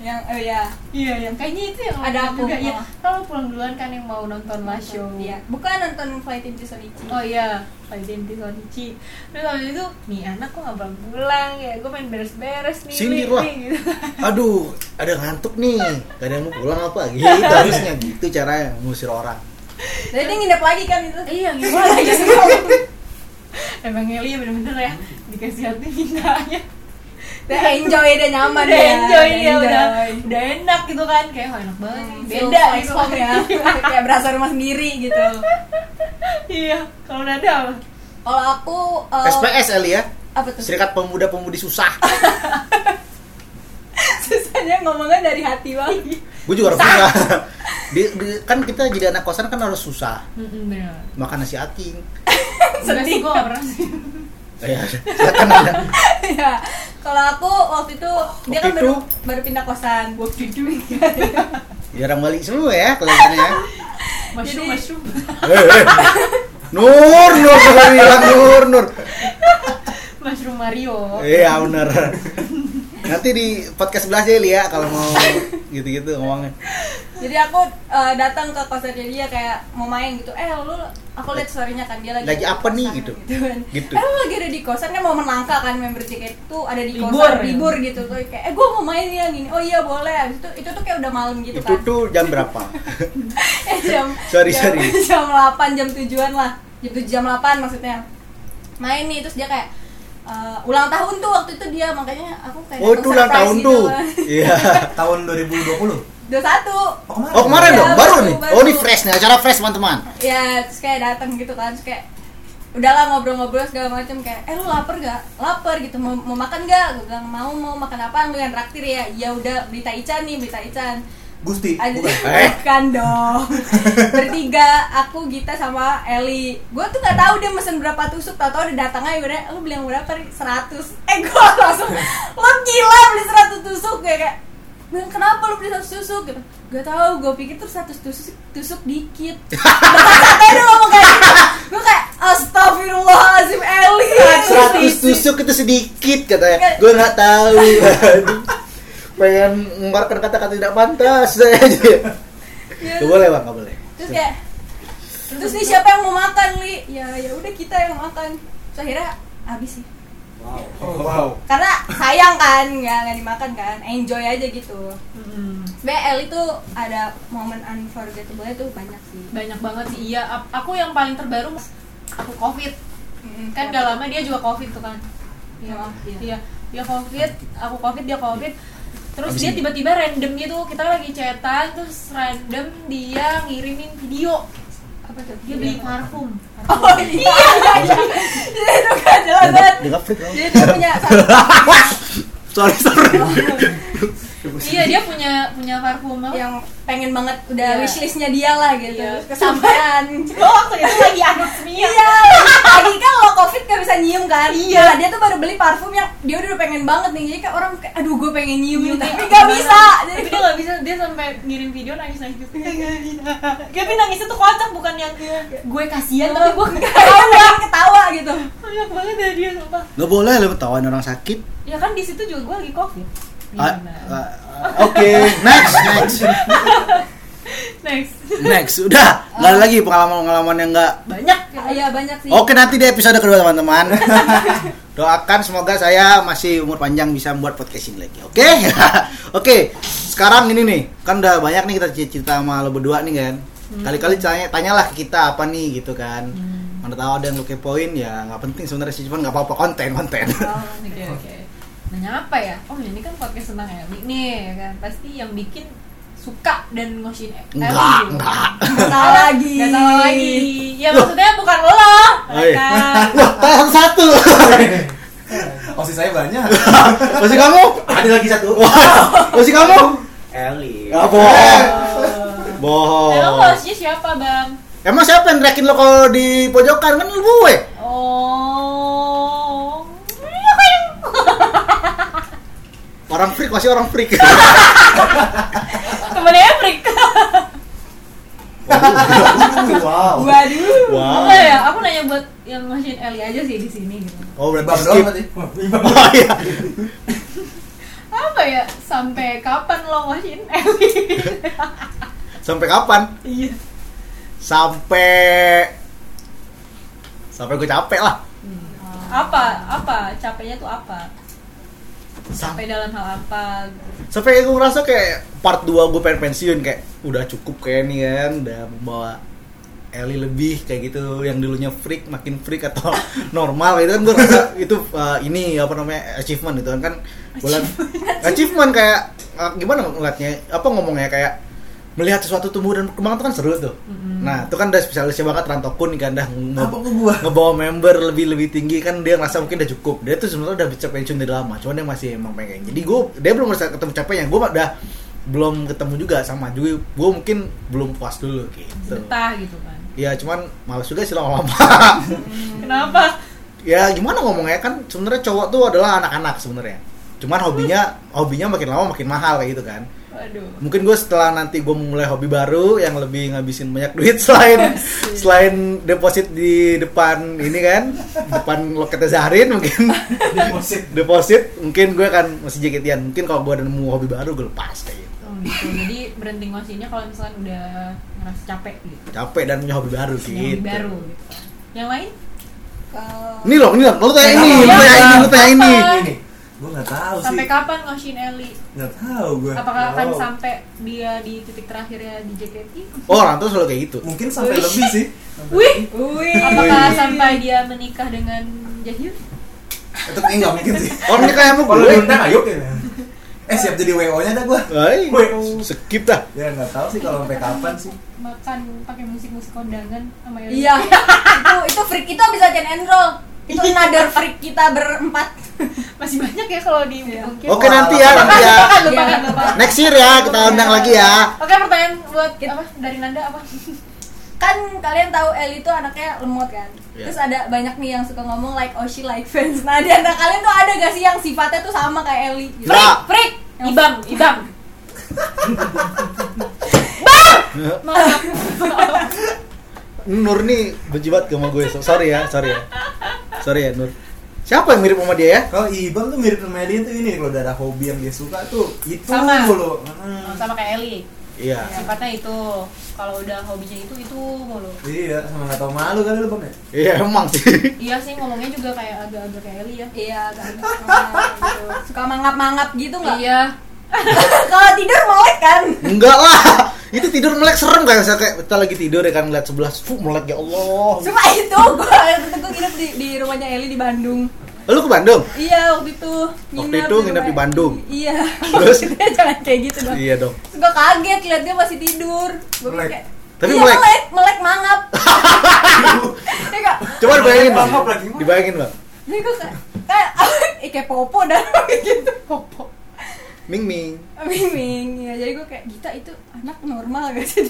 A: yang oh ya
B: Iya, yang kayaknya itu yang
A: Ada
B: waktu
A: aku,
B: juga. Iya,
A: malah.
B: kalau pulang duluan kan yang mau nonton last show.
A: Iya. bukan nonton Flight into Sonichi
B: Oh iya, Valentine Tisonichi. Terus habis itu, nih anak kok nggak pulang pulang ya? Gue main beres-beres nih.
E: Sindir
B: nih,
E: lah.
B: nih, gitu.
E: Aduh, ada ngantuk nih. Gak ada yang mau pulang apa? Gitu harusnya gitu caranya ngusir orang.
A: jadi dia nginep lagi kan itu
B: [laughs] Iya, gitu aja [laughs] sih. Emang Eli ya bener-bener ya dikasih hati mintanya.
A: udah enjoy udah
B: [laughs]
A: nyaman
B: udah
A: dia,
B: Iya. enjoy ya udah
A: enjoy.
B: udah enak gitu kan kayak wah enak banget nih
A: Hmm,
B: beda
A: feel
B: gitu [laughs]
A: home ya kayak berasa rumah sendiri gitu
B: iya kalau nada apa?
A: kalau aku
B: Oh.
A: eh,
E: SPS Eli ya,
A: apa tuh
E: Serikat Pemuda Pemudi Susah.
A: [laughs] susahnya ngomongnya dari hati banget
B: [laughs]
E: Gue juga harus susah. [laughs] Di- di- kan kita jadi anak kosan kan harus susah
B: Mm-mm, [laughs] bener
E: makan nasi aking.
B: Enggak sih, gue gak pernah sih
E: Eh, [laughs] Ya, silakan Anda.
A: ya kalau aku waktu itu
E: Waktu
A: dia kan baru
E: itu?
A: baru pindah kosan
B: [laughs] Waktu [laughs] itu
E: Jarang balik semua ya kelihatannya ya.
B: Mushroom,
A: Jadi-
B: mushroom
E: Eh, eh. Nur, Nur, Nur, bilang Nur, Nur.
B: [laughs] Mushroom Mario
E: Iya benar. Nanti di podcast sebelah aja Eli ya kalau mau gitu-gitu ngomongnya.
A: jadi aku eh, datang ke konsernya dia kayak mau main gitu eh lu aku lihat storynya kan dia lagi
E: Lagi
A: ada di
E: apa nih,
A: kosan,
E: gitu.
A: kan.
E: Gitu.
A: eh lu lagi ada di kosan kan mau melangkah kan member JKT itu ada di kosan
B: Libur,
A: libur,
B: ya.
A: gitu tuh kayak eh gua mau main ya gini oh iya boleh Habis itu itu tuh kayak udah malam gitu
E: Itu
A: kan
E: tuh jam berapa?
A: [laughs] eh jam
E: [laughs] Sorry,
A: jam,
E: sorry.
A: [laughs] jam 8 jam 7-an lah jam 7 jam 8 maksudnya main nih terus dia kayak eh, ulang tahun tuh waktu itu dia makanya aku kayak
E: Oh,
A: datang
E: itu ulang tahun
A: surprise gitu
E: tuh.
A: kan. [laughs]
E: Iya.
F: Tahun 2020.
A: 21
F: Oh, kemarin.
E: Oh, kemarin
A: Iya,
E: dong, baru
A: baru,
E: nih.
A: baru.
E: Oh, ini fresh nih, acara fresh, teman-teman.
A: ya terus kayak datang gitu kan terus kayak udahlah ngobrol-ngobrol segala macam kayak eh lu lapar gak lapar gitu mau, mau makan gak gue bilang mau mau makan apa dengan traktir ya ya udah berita Ican nih berita Ican
F: Gusti.
A: ada
F: Bukan.
C: [laughs]
E: Eh.
A: bukan
E: [laughs]
A: dong bertiga aku Gita sama Eli gue tuh nggak tahu dia mesen berapa tusuk tau tau ada datang aja gue nanya, lu beli yang berapa Ri? 100 eh gue [laughs] langsung lo gila beli 100 tusuk kayak kayak bilang kenapa lu beli 100 tusuk gitu gak tau gue pikir tuh 100 tusuk tusuk
E: [laughs]
A: dikit katanya dia ngomong kayak gitu gue kayak astagfirullahaladzim Eli
E: 100 tusuk itu sedikit katanya. Gue nggak tahu. Pengen mengeluarkan kata-kata tidak pantas [laughs] aja.
A: Iya,
E: Gak boleh, Bang, gak boleh.
A: terus kayak terus nih siapa yang mau makan li ya ya udah kita yang makan terus akhirnya habis sih
F: Oh, wow.
A: karena sayang kan nggak nggak dimakan kan enjoy aja gitu
B: Mm-mm.
A: BL itu ada momen unforgettable itu banyak sih
B: Banyak banget sih, iya Ap- Aku yang paling terbaru mas- Aku covid
A: Mm-mm.
B: Kan gak lama dia juga covid tuh kan
A: Iya, iya.
B: Iya, dia covid, aku covid, dia covid. Terus
E: Abis
B: dia
E: ini.
B: tiba-tiba random gitu, kita lagi chatan, terus random dia ngirimin video.
A: apa tuh
B: Dia beli parfum.
A: oh iya iya iya Iya, itu kan jelas banget
E: Dengar freak kamu.
A: jadi dia [laughs] punya satu
E: Sorry, sorry.
B: iya, dia punya punya parfum apa?
A: yang pengen banget udah
B: Iya.
A: wishlistnya dia lah gitu
B: Iya.
A: kesampaian
B: Oh, waktu itu lagi anut
A: Iya,
B: semia.
A: lagi kan lo covid gak bisa nyium kan Iya Dia tuh baru beli parfum yang dia udah pengen banget nih Jadi kayak orang kayak, aduh gue pengen nyium nih Tapi gak bisa Jadi
B: Tapi dia gak bisa, dia sampai ngirim video nangis-nangis gitu Gak bisa Tapi nangisnya tuh kocak, bukan yang gue kasihan Tapi gue
A: kayak orang pengen ketawa gitu
B: banyak banget dari dia, sumpah
E: Gak boleh lo tawain orang sakit.
B: Ya kan di situ juga gue lagi covid
E: Ah,
B: Gimana?
E: ah, Oke, next, next,
B: Next
E: next. Udah, nggak ada lagi pengalaman-pengalaman yang nggak
B: Banyak
A: Iya banyak sih
E: Oke nanti di episode kedua teman-teman [laughs] Doakan semoga saya masih umur panjang bisa membuat podcast ini lagi Oke [laughs] Oke sekarang ini nih Kan udah banyak nih kita cerita sama lo berdua nih kan
B: Hmm.
E: Kali-kali tanya, tanyalah ke kita apa nih gitu kan Mana tahu ada yang lo kepoin ya nggak penting sebenarnya sih cuman nggak apa-apa konten konten
B: Oh, Oke oke. Nanya apa ya? Oh ini kan podcast tentang Eli nih ya kan. Pasti yang bikin suka dan ngoshin Eli.
E: Enggak,
B: gitu.
E: enggak
A: Nggak salah lagi
B: Nggak salah lagi. Ya maksudnya bukan lo.
E: Oi. [laughs]
B: Kan.
E: Wah tayang satu
F: Osis saya banyak.
E: [laughs] Masih kamu?
H: Ada lagi satu.
E: [laughs] Masih
B: [laughs]
E: kamu?
H: Eli.
E: Ya bohong Bohong
B: Emang hostnya siapa bang?
E: Emang siapa yang teriakin lo kalau di pojokan? Kan lo gue
B: Oh.
E: Orang freak masih orang freak
B: Temennya Efrik.
F: Wow.
A: Waduh
E: Wow.
B: Enggak ya, aku nanya buat yang ngoshin Eli aja sih di sini gitu.
E: [laughs] Oh berarti
F: Ibam doang
E: skip.
F: tadi.
E: Oh iya.
B: Apa
C: kayak ya? sampai kapan lo ngosin Eli?
E: Sampai kapan?
C: Iya.
E: Sampai sampai gue capek lah.
C: Apa? Apa? Capeknya tuh apa?
E: Sampai
C: Capek dalam hal apa? gitu.
E: sampai gue ngerasa kayak part 2 gue pengen pensiun kayak udah cukup kayak nih kan udah membawa Eli lebih kayak gitu yang dulunya freak makin freak atau [laughs] normal itu kan gue rasa itu uh, ini apa namanya achievement itu kan kan bulan achievement kayak uh, gimana ngeliatnya apa ngomongnya kayak melihat sesuatu tumbuh dan berkembang itu kan seru tuh nah itu kan udah spesialisnya banget Rantokun kan dah
F: Apa ke gua?
E: ngebawa member lebih lebih tinggi kan dia ngerasa mungkin udah cukup dia tuh sebenarnya udah bisa pensiun dari lama cuman dia masih emang pengen jadi gue dia belum ngerasa ketemu capeknya gue udah belum ketemu juga sama juga gue mungkin belum puas dulu gitu
F: Iya.
C: Betah gitu kan.
E: ya cuman males juga sih lama-lama [laughs]
C: Hmm. Kenapa?
E: ya gimana ngomongnya kan sebenarnya cowok tuh adalah anak-anak sebenarnya cuman hobinya hobinya makin lama makin mahal kayak gitu kan
C: Waduh.
E: mungkin gue setelah nanti gue mulai hobi baru yang lebih ngabisin banyak duit [laughs] selain selain deposit di depan ini kan depan loketnya Zahrin mungkin [laughs]
F: Deposit.
E: deposit mungkin gue akan masih jaketian mungkin kalau gue ada nemu hobi baru gue lepas kayak gitu
C: Oh, gitu. Jadi berhenti ngosinnya kalau misalkan udah ngerasa capek gitu.
E: capek dan punya hobi baru
C: Yang
E: gitu
C: lebih baru gitu. Yang lain?
A: Kalau
E: ini loh ini loh lo tanya ini lo
C: Apa?
E: tanya ini lo tanya ini
F: Ini. Gua enggak tahu sih.
C: Sampai kapan ngosin Eli?
F: Enggak tahu gua.
C: Apakah akan
F: Oh, Wow.
C: sampai dia di titik terakhirnya di JKT?
E: oh orang tuh selalu kayak gitu
F: Mungkin sampai lebih sih.
C: Wih,
A: Wih.
C: apakah sampai dia menikah dengan Jahyun?
F: Itu kayaknya
C: [laughs]
F: enggak mungkin sih.
E: orang Oh, ini kayak sama
F: Kalau
E: gue
F: diundang ayo. Eh siap jadi WO-nya dah gua.
E: Hai,
F: Woi.
E: skip dah
F: Ya enggak tahu sih kalau sampai kapan sih.
C: Makan pakai musik-musik kondangan sama Eli.
A: Iya, itu itu freak itu bisa jadi and roll. Itu
C: Iya.
A: another freak kita berempat.
C: Masih banyak ya kalau di mungkin.
E: oke nanti ya nanti ya
C: Lupakan, lupakan, lupakan.
E: next year ya kita undang lagi ya
C: Oke, pertanyaan buat apa dari Nanda apa?
A: Kan kalian tahu Eli itu anaknya lemot kan.
E: Iya.
A: Terus ada banyak nih yang suka ngomong like Oshi like fans. Nah, di antara kalian tuh ada gak sih yang sifatnya tuh sama kayak Eli? Gitu?
E: Freak,
A: freak.
C: Ibang, Ibang. Bang! Maaf.
E: Eh, Nur nih benci banget sama gue. So- Sorry ya, sorry ya. Sorry ya Nur. Siapa yang mirip sama dia ya?
F: Kalau Ibang tuh mirip sama dia tuh ini kalau udah ada hobi yang dia suka tuh itu
C: Sama.
B: Oh,
F: mulu. Hmm.
B: sama kayak Eli
E: Iya.
B: sifatnya itu kalau udah hobinya itu itu mulu
F: Iya, sama nggak tau malu kali lu bang [laughs] ya?
E: Iya emang sih.
B: iya sih ngomongnya juga kayak agak-agak kayak Eli ya
A: Iya, agak aneh sama gitu. Suka mangap-mangap gitu nggak?
B: iya
A: [laughs] Kalau tidur melek kan.
E: Enggak lah. Itu tidur melek serem kayak saya kayak kita lagi tidur ya kan ngeliat sebelah fuh melek ya Allah.
A: Cuma itu gua gue nginep di, di rumahnya Eli di Bandung.
E: Lu ke Bandung?
A: Iya, waktu itu
E: itu
A: di
E: nginep di
A: rumah-
E: Bandung?
A: Iya.
E: Terus?
A: [laughs] Maksudnya jangan kayak gitu dong.
E: Iya dong.
A: Terus gue kaget liat dia masih tidur. Gue
F: Melek.
A: kayak
E: Tapi
A: iya,
E: melek.
A: melek, melek
E: [laughs]
A: mangap. Iya nggak?
E: Coba dibayangin bang.
F: Bangkok lagi, Bang.
E: Dibayangin bang.
A: Jadi gue kayak kayak [laughs] eh, [laughs] kayak popo dan gitu popo.
E: Ming Ming.
A: Miming ya, jadi gue kayak Gita itu anak normal gak sih? [laughs]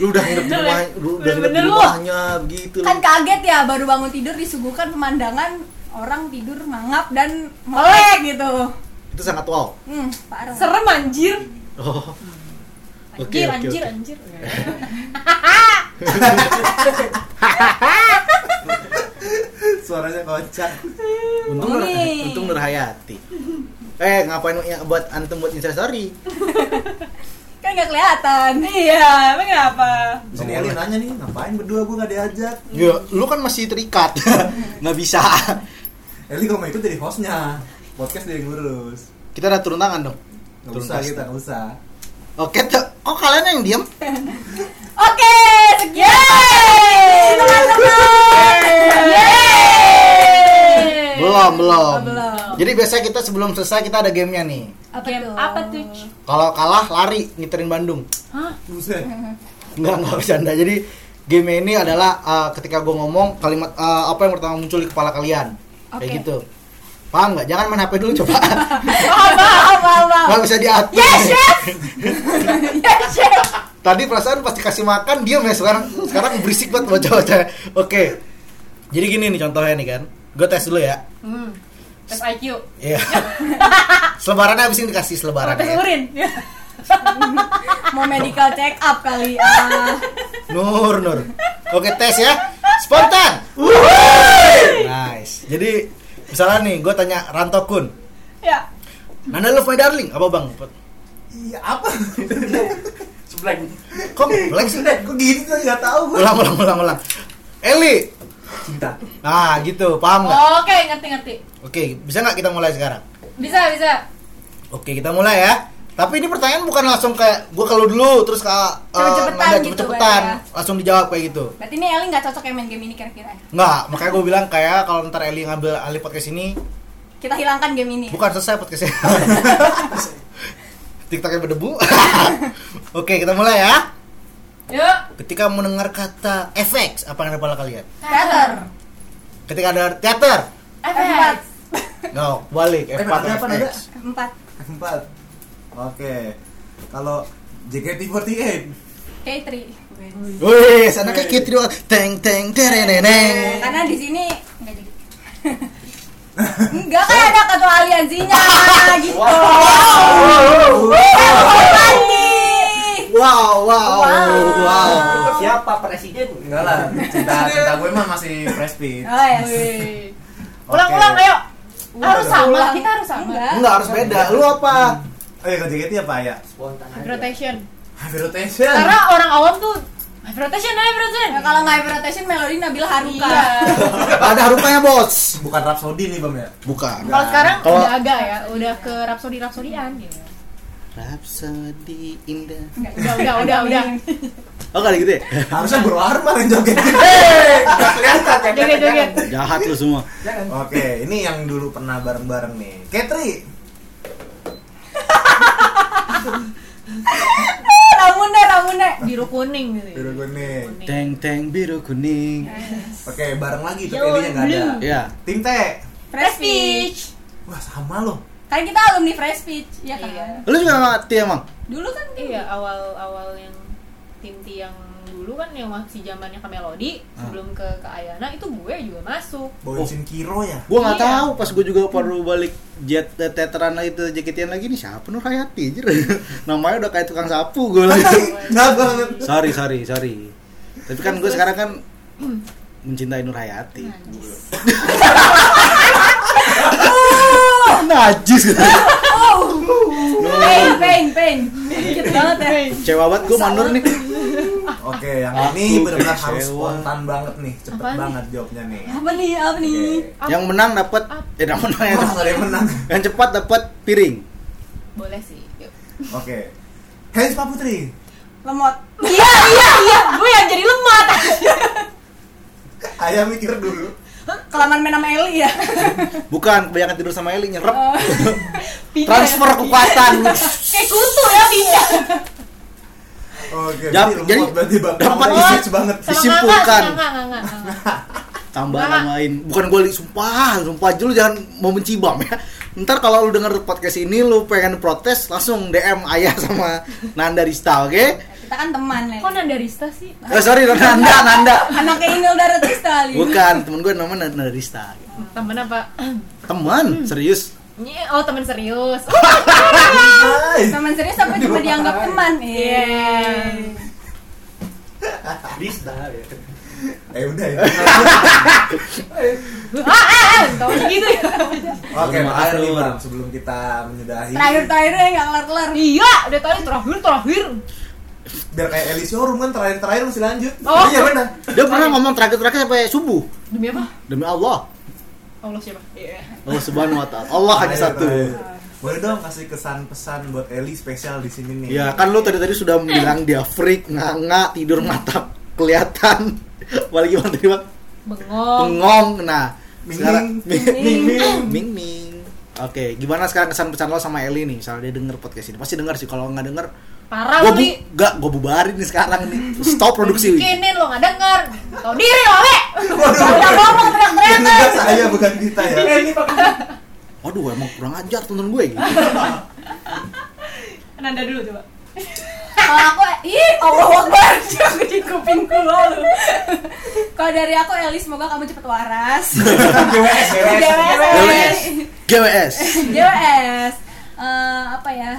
E: Lu udah nginep di rumah, lu udah nginep di
C: Bener-bener lu.
E: rumahnya gitu. lu.
A: kan kaget ya baru bangun tidur disuguhkan pemandangan orang tidur mangap dan melek
C: Melek gitu.
E: Itu sangat wow.
A: hmm, parah
C: Serem anjir.
E: Oh. Oke,
B: anjir
E: oke,
B: anjir
E: oke.
B: anjir
F: Suaranya kocak.
E: Untung Nur,
A: Nih.
E: untung Nur [laughs] Hayati. Eh, ngapain ya, buat antum buat instastory?
A: kan gak kelihatan
C: Iya, emang kenapa?
F: Bisa nih Eli nanya nih, ngapain berdua gue gak diajak?
E: Ya, lu kan masih terikat. [laughs] Nggak bisa.
F: Eli kalau mau ikut jadi hostnya, podcast dia yang ngurus.
E: Kita udah turun tangan dong.
F: Gak
E: Turun
F: usah
E: tas.
F: kita, gak usah.
E: Oke, tuh. kok kalian yang diam?
A: oke sekian teman-teman yeay
E: Belum, belum.
A: Oh, belum.
E: Jadi biasanya kita sebelum selesai kita ada gamenya nih.
A: apa
B: Game
A: tuh?
B: apa tuh Ci?
E: Kalau kalah lari ngiterin Bandung.
F: Buset.
E: Enggak, enggak bercanda. Jadi game ini adalah uh, ketika gue ngomong kalimat uh, apa yang pertama muncul di kepala kalian. Kayak
A: Oke.
E: gitu. Paham nggak? Jangan main HP dulu coba. [laughs]
A: apa apa apa
E: Nggak bisa diatur.
A: Oh. yes
E: [laughs]
A: chef yes chef
E: Tadi perasaan pasti kasih makan diam ya sekarang sekarang berisik banget baca-baca. Oke. Jadi gini nih contohnya nih kan. Gue tes dulu ya.
B: hmm. tes IQ
A: [laughs]
E: Iya. selebarannya ya? abis ini dikasih selebaran.
B: tes urin
A: mau medical check up kali ah
E: Nur, Nur. Oke, tes ya. Spontan. Nice. Jadi misalnya nih gue tanya Ranto Kun.
C: Ya.
E: Nanda Love My Darling apa bang?
F: Iya apa?
H: Sebelah
E: Kok black sih?
F: Kok gitu tuh nggak tahu gue.
E: Ulang ulang ulang ulang. Eli.
F: Cinta.
E: Nah gitu, paham nggak?
B: Oke, ngerti-ngerti.
E: Oke, bisa nggak kita mulai sekarang?
B: Bisa, bisa.
E: Oke, kita mulai ya. Tapi ini pertanyaan bukan langsung kayak gue kalau dulu terus ke uh,
A: Cepet-cepetan
E: Nanda
A: gitu,
E: cepet-cepetan,
A: Bang,
E: langsung dijawab kayak gitu.
A: Berarti ini Eli nggak cocok ya main game ini kira-kira.
E: Nggak, makanya gue bilang kayak kalau ntar Eli ngambil alih podcast ini
A: Kita hilangkan game ini.
E: bukan selesai podcastnya. [laughs] TikToknya berdebu. [laughs] Oke, kita mulai ya.
B: Yuk.
E: Ketika mendengar kata FX, apa yang ada pada kalian?
A: Teater.
E: Ketika ada teater,
A: Empat.
E: no, balik
F: Eh,
E: F4
F: ada apa, Nanda?
E: FX.
A: Empat.
F: Empat. Oke. Kalau JKT48
A: K3.
E: Wih, anaknya cute banget. Teng teng
A: Eh,
E: tereneneng.
A: Karena di sini nggak jadi. Enggak kan ada kartu aliansinya gitu.
E: Oh!
A: Bukan nih.
E: Wow, wow, wow.
H: Siapa presiden?
G: Enggak lah, cinta cinta gue mah masih fresh fit.
A: Oh yes.
B: Ulang-ulang, ayo. Harus
F: udah.
B: sama, kita harus sama.
A: Enggak.
E: Enggak harus beda. Lu apa?
F: Oh iya, kalau JKT apa ya?
H: Spontan aja.
B: Rotation.
F: Happy rotation.
B: Karena orang awam tuh Rotation, ayo rotation.
A: Ya, kalau nggak hyperrotation melodi Nabila Haruka.
B: Iya.
E: Ada harumnya, Bos.
F: Bukan Rhapsody nih, Bang ya.
E: Bukan.
B: Kalau sekarang
E: Kalau-
B: udah agak ya, udah ke rapsodi rapsodian gitu.
E: Rhapsody indah.
B: Udah, udah, udah, udah.
E: Oh, enggak ada gitu ya?
F: Harusnya berwarna yang joget.
H: Kelihatan ya,
B: Joget, joget.
E: Jahat lu semua.
F: Oke, ini yang dulu pernah bareng-bareng nih. Katri.
A: Ramune, Ramune.
B: Biru kuning gitu.
F: Biru
B: ya.
F: kuning.
E: Teng teng biru kuning.
F: Oke, bareng lagi tuh
B: Yo,
F: Eli yang ada.
B: blue.
E: Ya.
F: Tim T.
A: Fresh Peach.
F: Wah, sama loh.
A: Kan kita alumni Fresh Peach, ya kan?
B: Iya.
E: Lu juga sama Tia, Mang?
A: Dulu kan tim.
B: Iya, awal-awal yang tim T yang dulu kan yang masih zamannya ke Melody sebelum ke ke Ayana itu gue juga masuk.
E: Oh.
F: Bawain Shin Kiro
E: [laughs]
F: ya.
E: Gua nggak
B: Iya.
E: tahu pas gua juga baru balik jet teteran itu jaketian lagi nih siapa Nur Hayati anjir. [laughs] Namanya udah kayak tukang sapu gua lagi.
F: Nah banget.
E: sorry, sorry, sorry. Tapi kan gua sekarang kan mencintai Nur Hayati. Najis.
A: Pain, pain, pain. Dikit banget ya.
E: Cewa banget gue manur nih.
F: Oke, yang
E: Aku
F: ini benar-benar
E: kecewa.
F: harus spontan banget nih. Cepet
B: Apaan
F: banget jawabnya nih.
A: Apa nih, apa nih?
F: Oke.
E: Yang menang dapat eh yang menang yang
F: Wah,
E: cepat,
F: gak ada yang menang.
E: yang cepat dapat piring.
B: Boleh sih. Yuk.
F: Oke. Hei, Pak Putri.
A: Lemot.
B: Iya, iya, iya. Gue yang jadi lemah.
F: Ayah mikir dulu.
A: Kelamaan main sama Eli ya.
E: Bukan kebanyakan tidur sama Eli nyerep. [laughs]
B: Pindah.
E: Transfer kekuatan.
B: Kayak kutu ya pindah.
F: Oke,
E: Jam-
F: berarti
E: jadi
F: lemot berarti bang.
E: dapat
F: Kamu
E: isi-
F: isec banget.
B: Sama
E: Disimpulkan.
B: Nganga, sama Nganga, Nganga.
E: Tambah
B: Enggak.
E: namain. Bukan gue sumpah, sumpah aja lu jangan mau mencibam ya. Ntar kalau lu denger podcast ini lu pengen protes langsung DM Ayah sama Nanda Rista, oke?
A: Kita kan teman, Eli.
B: Kok Nandarista sih?
E: Eh sorry
F: [laughs]
E: Nanda, Nanda.
A: Anaknya Inul Daratista, Eli.
E: Bukan, temen gue namanya Nanda Rista.
B: Temen apa?
F: Hmm.
E: Teman, serius.
B: Nye- Oh, temen [laughs] serius.
F: Hai.
A: Teman serius tapi cuma dianggap teman. Iya.
H: Bisa ya.
F: Eh udah ya.
B: Ah, ah, ah. Tau gitu ya.
F: Oke,
E: Maaf,
F: makasih nih
E: Lur.
F: bang. Sebelum kita menyudahi,
A: Terakhir-terakhirnya nggak kelar-kelar.
B: Iya, udah tadi terakhir terakhir.
F: biar kayak Eli showroom kan terakhir-terakhir masih lanjut.
B: Oh.
F: Iya benar.
E: Dia pernah ngomong terakhir-terakhir sampai subuh.
B: Demi apa?
E: Demi Allah.
B: Allah siapa? Iya.
E: Allah Subhanahu wa taala. Allah Oh, hanya satu.
F: Terakhir. Boleh dong kasih kesan pesan buat Eli spesial di sini nih.
E: Ya kan lu tadi tadi sudah bilang dia freak, nganga, tidur mata kelihatan. [laughs] Apalagi gimana tadi bang?
B: Bengong.
E: Bengong. Nah,
F: Oh. Ming-ming.
E: sekarang
F: Ming-ming.
E: ming ming. Oke, gimana sekarang kesan pesan lo sama Eli nih? Misalnya dia denger podcast ini, pasti denger sih. Kalau nggak denger,
B: Parah lu
E: gue bu,
B: nih.
E: gak gue bubarin nih sekarang nih. Stop produksi.
B: Bikinin lo nggak denger. Tau diri lo, we.
F: Waduh.
B: Udah ngomong teriak-teriak.
F: Enggak saya bukan kita ya. [laughs]
E: Waduh, emang kurang ajar tonton gue gitu.
B: Nanda dulu coba.
A: kalau aku ih Allah Akbar aku di kupingku lalu kalau dari aku Eli semoga kamu cepet waras
F: GWS,
A: GWS
E: GWS.
A: GWS Eh, apa ya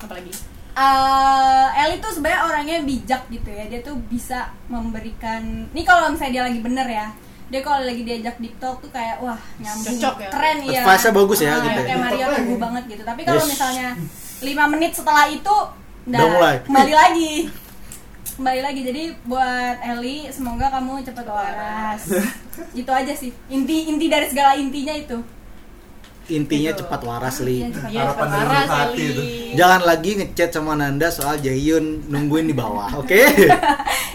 B: Apalagi?
A: Eh, Eli tuh sebenarnya orangnya bijak gitu ya dia tuh bisa memberikan ini kalau misalnya dia lagi bener ya dia kalau lagi diajak deep talk tuh kayak wah nyambung
B: Cocok ya.
A: keren ya
E: Advice-nya bagus ya, gitu ya.
A: kayak Mario
H: Cocok
A: tunggu
H: banget.
A: banget gitu tapi kalau
E: Yes.
A: misalnya lima menit setelah itu dah,
E: Udah mulai.
A: kembali lagi kembali lagi jadi buat Eli semoga kamu cepat waras itu aja sih inti inti dari segala intinya itu
E: Intinya
B: Gitu.
E: cepat waras li.
A: Yang cepat
B: Iya, Ya,
F: Harapan dari
B: parah
F: hati
B: sekali.
F: itu.
E: Jangan lagi ngechat sama Nanda soal Jaehyun nungguin di bawah, oke?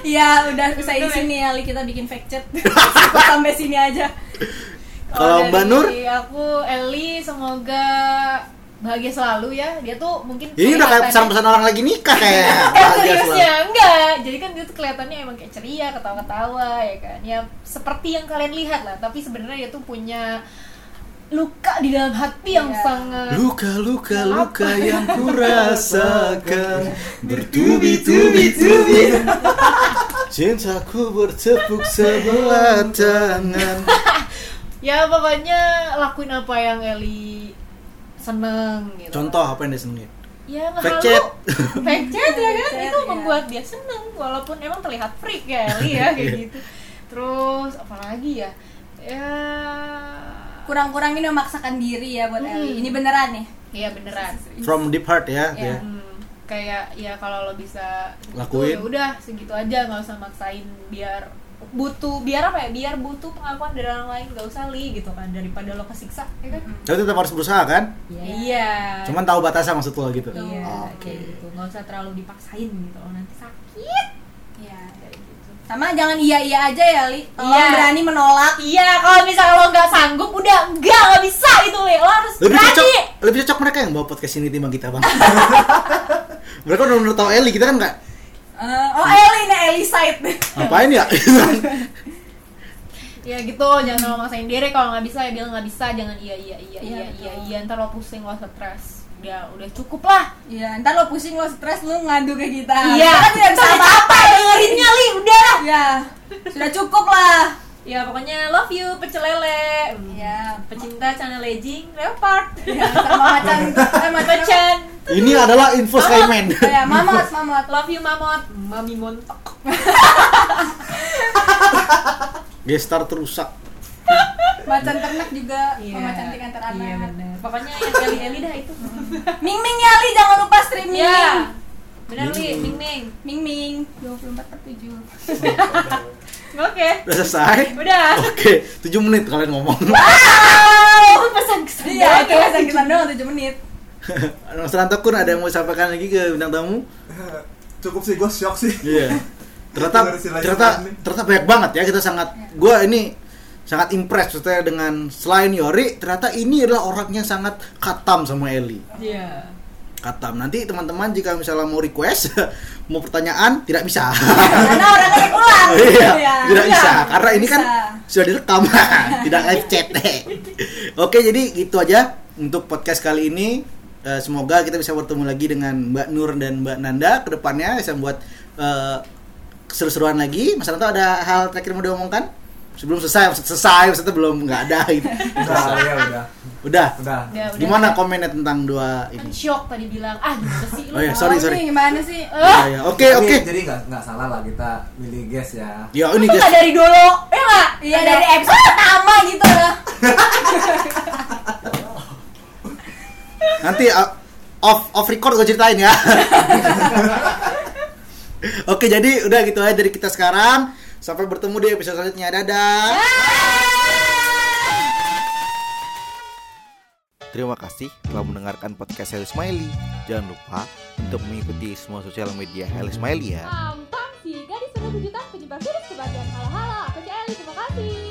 A: Iya, udah selesai di sini ya, Li kita bikin fact chat. [laughs] Sampai sini aja.
E: Kalau
B: dari
E: Mbak Nur?
B: aku Eli semoga bahagia selalu ya. Dia tuh mungkin
E: Ini udah kayak
B: kelihatannya-
E: pesan-pesan orang lagi nikah kayaknya.
B: Eh,
E: Bahagia selalu.
B: seriusnya enggak. Jadi kan dia tuh kelihatannya emang kayak ceria, ketawa-ketawa ya kan. Ya seperti yang kalian lihat lah, tapi sebenarnya dia tuh punya luka di dalam hati yang
A: Iya.
B: sangat
E: Luka, luka,
B: Apa?
E: luka yang kurasakan Bertubi-tubi-tubi Cintaku bertepuk sebelah tangan
B: ya pokoknya lakuin apa yang Eli seneng gitu.
E: Contoh apa yang dia senengin?
B: Ya ngehalu.
E: Fact check.
B: [laughs] Fact check, ya kan
A: Fact
B: itu
A: check, ya.
B: membuat dia seneng walaupun emang terlihat freak ya Eli ya
E: Iya.
B: kayak gitu. Terus apalagi ya? Ya
A: Kurang-kurangin memaksakan diri ya buat
B: Hmm.
A: Eli. Ini beneran nih.
B: Iya beneran.
E: From deep heart ya,
A: Iya.
E: dia.
B: Hmm, kayak ya kalau lo bisa gitu,
E: Lakuin.
B: ya udah segitu aja nggak usah maksain biar butuh biar apa ya biar butuh pengakuan dari orang lain nggak usah li gitu kan daripada lo kesiksa ya kan
E: Tapi tetap harus berusaha kan?
B: iya iya
E: Cuman tahu batasnya maksud lo gitu
B: iya
E: Oke
B: kayak gitu nggak usah terlalu dipaksain gitu lo nanti sakit
A: Iya.
B: kayak gitu
A: Sama jangan iya-iya aja ya, Li. Tolong
B: Iya.
A: berani menolak.
B: iya kalau misalnya lo nggak sanggup udah enggak nggak bisa itu li lo harus
E: lebih cocok,
B: berani
E: lebih cocok mereka yang bawa podcast ini timbang kita bang [laughs] Mereka udah bener tau Eli, kita kan nggak
A: Eh, oh, Eli nih Eli side.
E: Ngapain ya? [laughs]
B: ya gitu jangan terlalu maksain diri kalau nggak bisa ya bilang nggak bisa jangan iya iya iya
A: Iya,
B: iya
A: betul.
B: iya iya ntar lo pusing lo stres udah udah cukup lah
A: [laughs] Iya, ntar lo pusing lo stres lo ngadu ke kita.
B: Iya.
A: Karena tidak bisa
B: Sampai
A: apa-apa
B: dengerinnya li udah lah
A: Iya. Sudah cukup lah.
B: ya pokoknya love you pecel lele
A: Iya.
B: pecinta channel legging leopard
A: Ya, [laughs] sama macan, eh, macan.
B: pecan
E: Ini adalah info Skyman
B: Oh, iya.
A: Ya, mamat, mamat.
B: love you mamot mami montok
E: [laughs] Gestar terusak
A: Macan ternak juga sama
B: cantik
A: cantik antar anak.
B: iya benar pokoknya yang eli eli dah itu
A: Ming Ming ya Li, jangan lupa streaming.
B: ya benar li ming ming
A: Ming Ming 24 per 7.
B: oke
E: Udah selesai?
B: udah
E: Oke, 7 menit kalian ngomong [laughs]
B: oh pesan kesan
A: Iya, oke, saya kita doang 7 menit.
E: Mas Ranto Kun ada yang mau sampaikan lagi ke bintang tamu?
F: Cukup sih, gue shock sih.
E: Iya. ternyata
F: Dengar sila-sila
E: ternyata
F: ini.
E: ternyata banyak banget ya kita sangat gue ini sangat impress maksudnya dengan selain Yori ternyata ini adalah orang yang sangat katam sama Eli
C: Iya.
E: katam nanti teman-teman jika misalnya mau request [laughs] mau pertanyaan tidak bisa
A: Karena orangnya yang ulang.
E: Iya,
A: Iya,
E: tidak
A: iya.
E: bisa karena ini kan
A: Bisa.
E: sudah direkam [laughs] tidak live chat oke jadi gitu aja untuk podcast kali ini Eh, semoga kita bisa bertemu lagi dengan Mbak Nur dan Mbak Nanda kedepannya bisa buat eh, seru-seruan lagi Mas Ranto ada hal terakhir mau diomongkan sebelum selesai maksud selesai maksudnya belum nggak ada gitu
F: Udah, ya udah.
E: udah
F: Udah.
B: Ya, udah udah
E: gimana komennya tentang dua
B: kan
E: ini
B: shock tadi bilang ah gimana sih lu
E: oh ya sorry
A: Oh, ini
E: sorry
A: Gimana sih?
E: Ya, ya. oke
F: Tapi,
E: oke
F: Jadi nggak nggak salah lah kita milih guest ya.
E: ya
B: Lu
E: ini
B: tuh
E: guys
B: nggak dari dulu ya nggak
A: Iya dari episode pertama gitu lah.
E: Nanti uh, off off record gue ceritain ya. Oke, jadi udah gitu aja dari kita sekarang. Sampai bertemu di episode selanjutnya. Dadah.
D: Terima kasih telah mendengarkan podcast Heli Smiley. Jangan lupa untuk mengikuti semua sosial media Heli Smiley ya.
B: Ampang si gadis sudah berjuta penyebar virus kebahagiaan halo halo aku Eli terima kasih